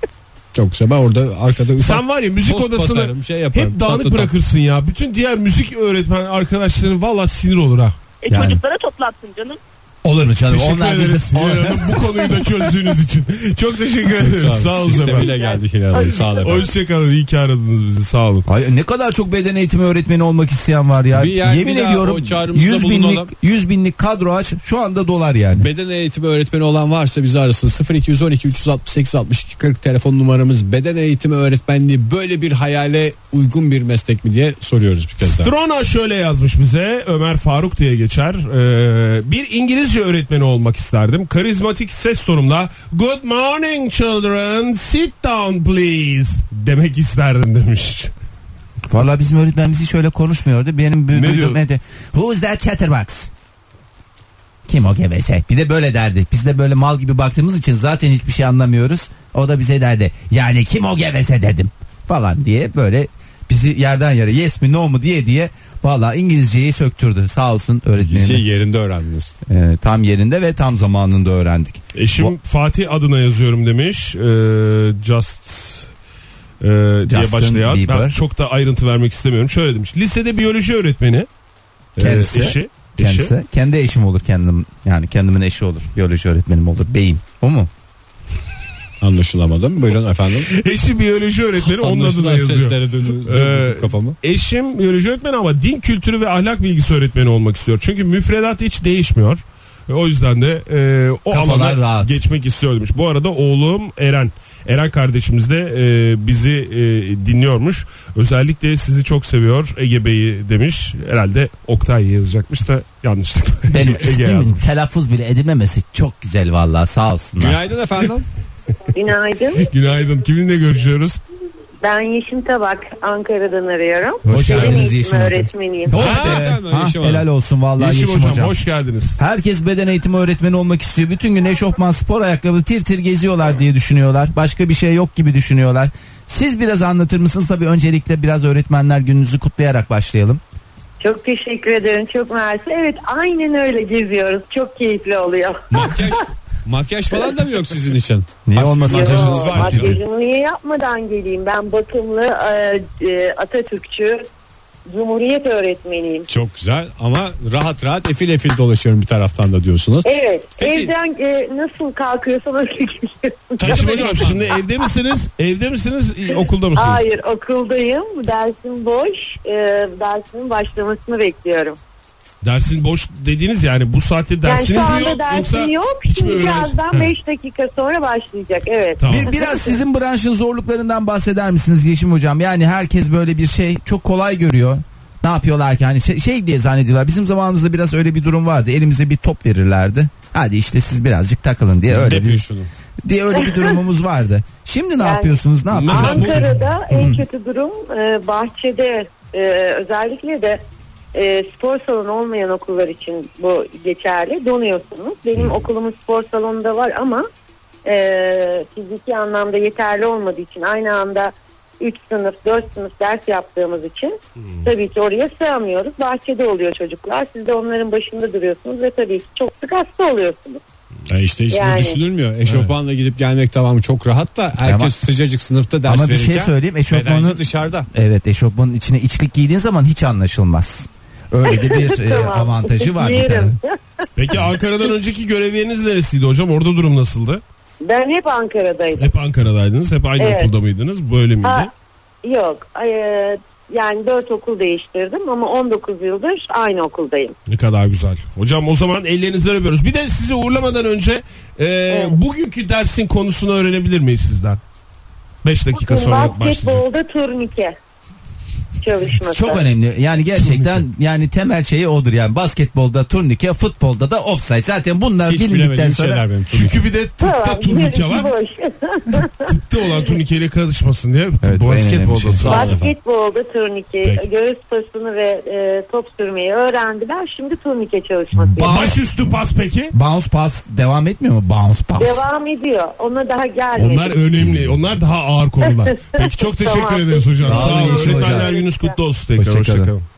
Çok güzel. Ben orada arkada ufak
Sen var ya müzik
tost
odasını
basarım, şey yaparım.
hep dağınık
Tatlı tatlı.
bırakırsın ya. Bütün diğer müzik öğretmen arkadaşların valla sinir olur ha.
E,
Yani.
Çocuklara toplattın canım.
olur mu canım?
Teşekkür
Onlar
ederiz
bizi
Hilal Hanım bu konuyu da çözdüğünüz için. Çok teşekkür ederim. Sağ olun efendim.
Sistemiyle geldik Hilal Hanım. Sağ olun. efendim.
Hoşçakalın. İyi ki aradınız bizi. Sağ olun.
Ay ne kadar çok beden eğitimi öğretmeni olmak isteyen var ya.
Bir yer,
Yemin
bir daha
ediyorum
o çağrımızda
100 binlik
bulunalım.
100 binlik kadro aç şu anda dolar yani.
Beden eğitimi öğretmeni olan varsa bizi arasın 0212 368 62 40 telefon numaramız beden eğitimi öğretmenliği böyle bir hayale uygun bir meslek mi diye soruyoruz bir kez daha.
Strona şöyle yazmış bize Ömer Faruk diye geçer. Ee, bir İngilizce öğretmeni olmak isterdim. Karizmatik ses tonumla Good morning children sit down please demek isterdim demiş.
Vallahi bizim öğretmenimiz hiç öyle konuşmuyordu. Benim ne
diyor?
duyduğum ne de Who's that chatterbox? Kim o gevesek? Bir de böyle derdi. Biz de böyle mal gibi baktığımız için zaten hiçbir şey anlamıyoruz. O da bize derdi. Yani kim o gevese dedim falan diye böyle bizi yerden yere yes mi no mu diye diye vallahi İngilizceyi söktürdü. Sağ olsun öğretmenim.
Şey yerinde öğrendiniz.
Ee, tam yerinde ve tam zamanında öğrendik.
Eşim
Va-
Fatih adına yazıyorum demiş. Ee, just e, diye
Justin
başlayan. Ben
Bieber.
çok da ayrıntı vermek istemiyorum. Şöyle demiş. Lisede biyoloji öğretmeni. Ee,
Kendisi.
eşi. eşi.
Kendisi kendi eşim olur kendim yani kendimin eşi olur. Biyoloji öğretmenim olur. Beyim. O mu?
Anlaşılamadım. Buyurun efendim.
Eşi biyoloji öğretmeni [LAUGHS] onun adına
Anlaşılan
yazıyor.
seslere dönü-
Ee,
döndürdüm kafamı.
Eşim biyoloji öğretmeni ama din kültürü ve ahlak bilgisi öğretmeni olmak istiyor. Çünkü müfredat hiç değişmiyor. E, O yüzden de e, o
Kafalar
alana
rahat.
geçmek istiyormuş. Bu arada oğlum Eren. Eren kardeşimiz de e, bizi e, dinliyormuş. Özellikle sizi çok seviyor Ege Bey'i demiş. Herhalde Oktay yazacakmış da yanlışlıkla
Benim
Ege
ismimin
yazmış.
telaffuz bile edilmemesi çok güzel vallahi sağ olsunlar.
Günaydın efendim.
Günaydın.
Günaydın. Kiminle görüşüyoruz?
Ben Yeşim Tabak Ankara'dan arıyorum.
Hoş
Beden
geldiniz
eğitimi
Yeşim Hocam.
öğretmeniyim.
Oh
Ha,
be.
efendim,
Ha,
Yeşim Hanım.
helal olsun vallahi
şey Yeşim,
Yeşim,
hocam,
hocam.
hoş geldiniz.
Herkes beden eğitimi öğretmeni olmak istiyor. Bütün gün eşofman spor ayakkabı tir tir geziyorlar diye düşünüyorlar. Başka bir şey yok gibi düşünüyorlar. Siz biraz anlatır mısınız? Tabii öncelikle biraz öğretmenler gününüzü kutlayarak başlayalım.
Çok teşekkür ederim. Çok mersi. Evet aynen öyle geziyoruz. Çok keyifli oluyor.
Makyaj, makyaj falan da mı yok sizin için?
Niye
Hafif
olmasın?
Makyajınız
Yo,
var gibi.
Makyajımı niye yapmadan geleyim? Ben bakımlı e, e, Atatürkçü Cumhuriyet öğretmeniyim.
Çok güzel ama rahat rahat efil efil dolaşıyorum bir taraftan da diyorsunuz.
E,
Evet.
Peki.
Evden e, nasıl kalkıyorsan [LAUGHS] öyle geliyorum.
Yeşim
Taşıma
hocam
yoksa-
şimdi evde misiniz? Evde misiniz? Okulda mısınız?
Hayır okuldayım. Dersim boş. E, dersimin başlamasını bekliyorum.
Dersin boş dediğiniz yani bu saatte dersiniz
yani şu anda
mi yok
dersim
yoksa
yok.
hiç mi
Şimdi
öğrenci- He.
birazdan 5 dakika sonra başlayacak. Evet.
Tamam.
Bir, biraz sizin branşın zorluklarından bahseder misiniz Yeşim Hocam? Yani herkes böyle bir şey çok kolay görüyor. Ne yapıyorlar ki hani şey, şey diye zannediyorlar. Bizim zamanımızda biraz öyle bir durum vardı. Elimize bir top verirlerdi. Hadi işte siz birazcık takılın diye öyle
Depiyor
bir,
şunu.
diye öyle bir durumumuz vardı. Şimdi ne
Yani-
yapıyorsunuz? Ne yapıyorsunuz?
Ankara'da en kötü durum e, bahçede e, özellikle de e, spor salonu olmayan okullar için bu geçerli. Donuyorsunuz. Benim okulumun spor salonu da var ama e, fiziki anlamda yeterli olmadığı için aynı anda 3 sınıf 4 sınıf ders yaptığımız için tabii ki oraya sığamıyoruz. Bahçede oluyor çocuklar. Siz de onların başında duruyorsunuz ve tabii ki çok sık hasta oluyorsunuz.
Ya işte hiç bu
Yani.
düşünülmüyor. Eşofmanla gidip gelmek tamam çok rahat da herkes
Ama-
sıcacık sınıfta ders
Ama bir
verirken
şey söyleyeyim.
bedenci
Eşofmanı
dışarıda.
Evet eşofmanın içine içlik giydiğin zaman hiç anlaşılmaz. Öyle de
[LAUGHS]
bir e,
Tamam.
avantajı var bir
Yerim.
tane.
Peki Ankara'dan önceki görev yeriniz neresiydi hocam? Orada durum nasıldı?
Ben hep Ankara'daydım.
Hep Ankara'daydınız, hep aynı
Evet.
okulda mıydınız? Böyle miydi?
Ha, yok. Ee, yani dört okul değiştirdim ama 19 yıldır aynı okuldayım.
Ne kadar güzel. Hocam o zaman ellerinizden öpüyoruz. Bir de sizi uğurlamadan önce e, bugünkü dersin konusunu öğrenebilir miyiz sizden? 5 dakika
Bugün
sonra başlayacak.
basketbolda turnike. çalışması.
Çok önemli. Yani gerçekten yani temel şeyi odur yani basketbolda turnike, futbolda da offside. Zaten bunlar
Hiç
bilindikten
bilemediğim
sonra
şeyler benim. Çünkü
Çünkü bir de tıpta
Tamam,
turnike
gerisi
var.
boş.
Tıpta olan turnikeyle karışmasın diye.
Evet, bu en önemli şey.
Basketbolda sağ olun.
Basketbolda turnike,
Peki.
göğüs pasını ve e, top sürmeyi öğrendiler. Şimdi turnike çalışması. yapıyor.
Başüstü pas peki?
bounce pass devam etmiyor mu? Bounce pass.
Devam ediyor. Ona daha gelmedi.
Onlar önemli. Onlar [LAUGHS] daha ağır konular. Peki çok teşekkür
Tamam.
ederiz hocam.
Sağ
Sağ
olun,
olun.
Yeşil
Öğretmenler
hocam.
gününüz kutlu olsun tekrar.
Hoşça kalın.
Hoşçakalın.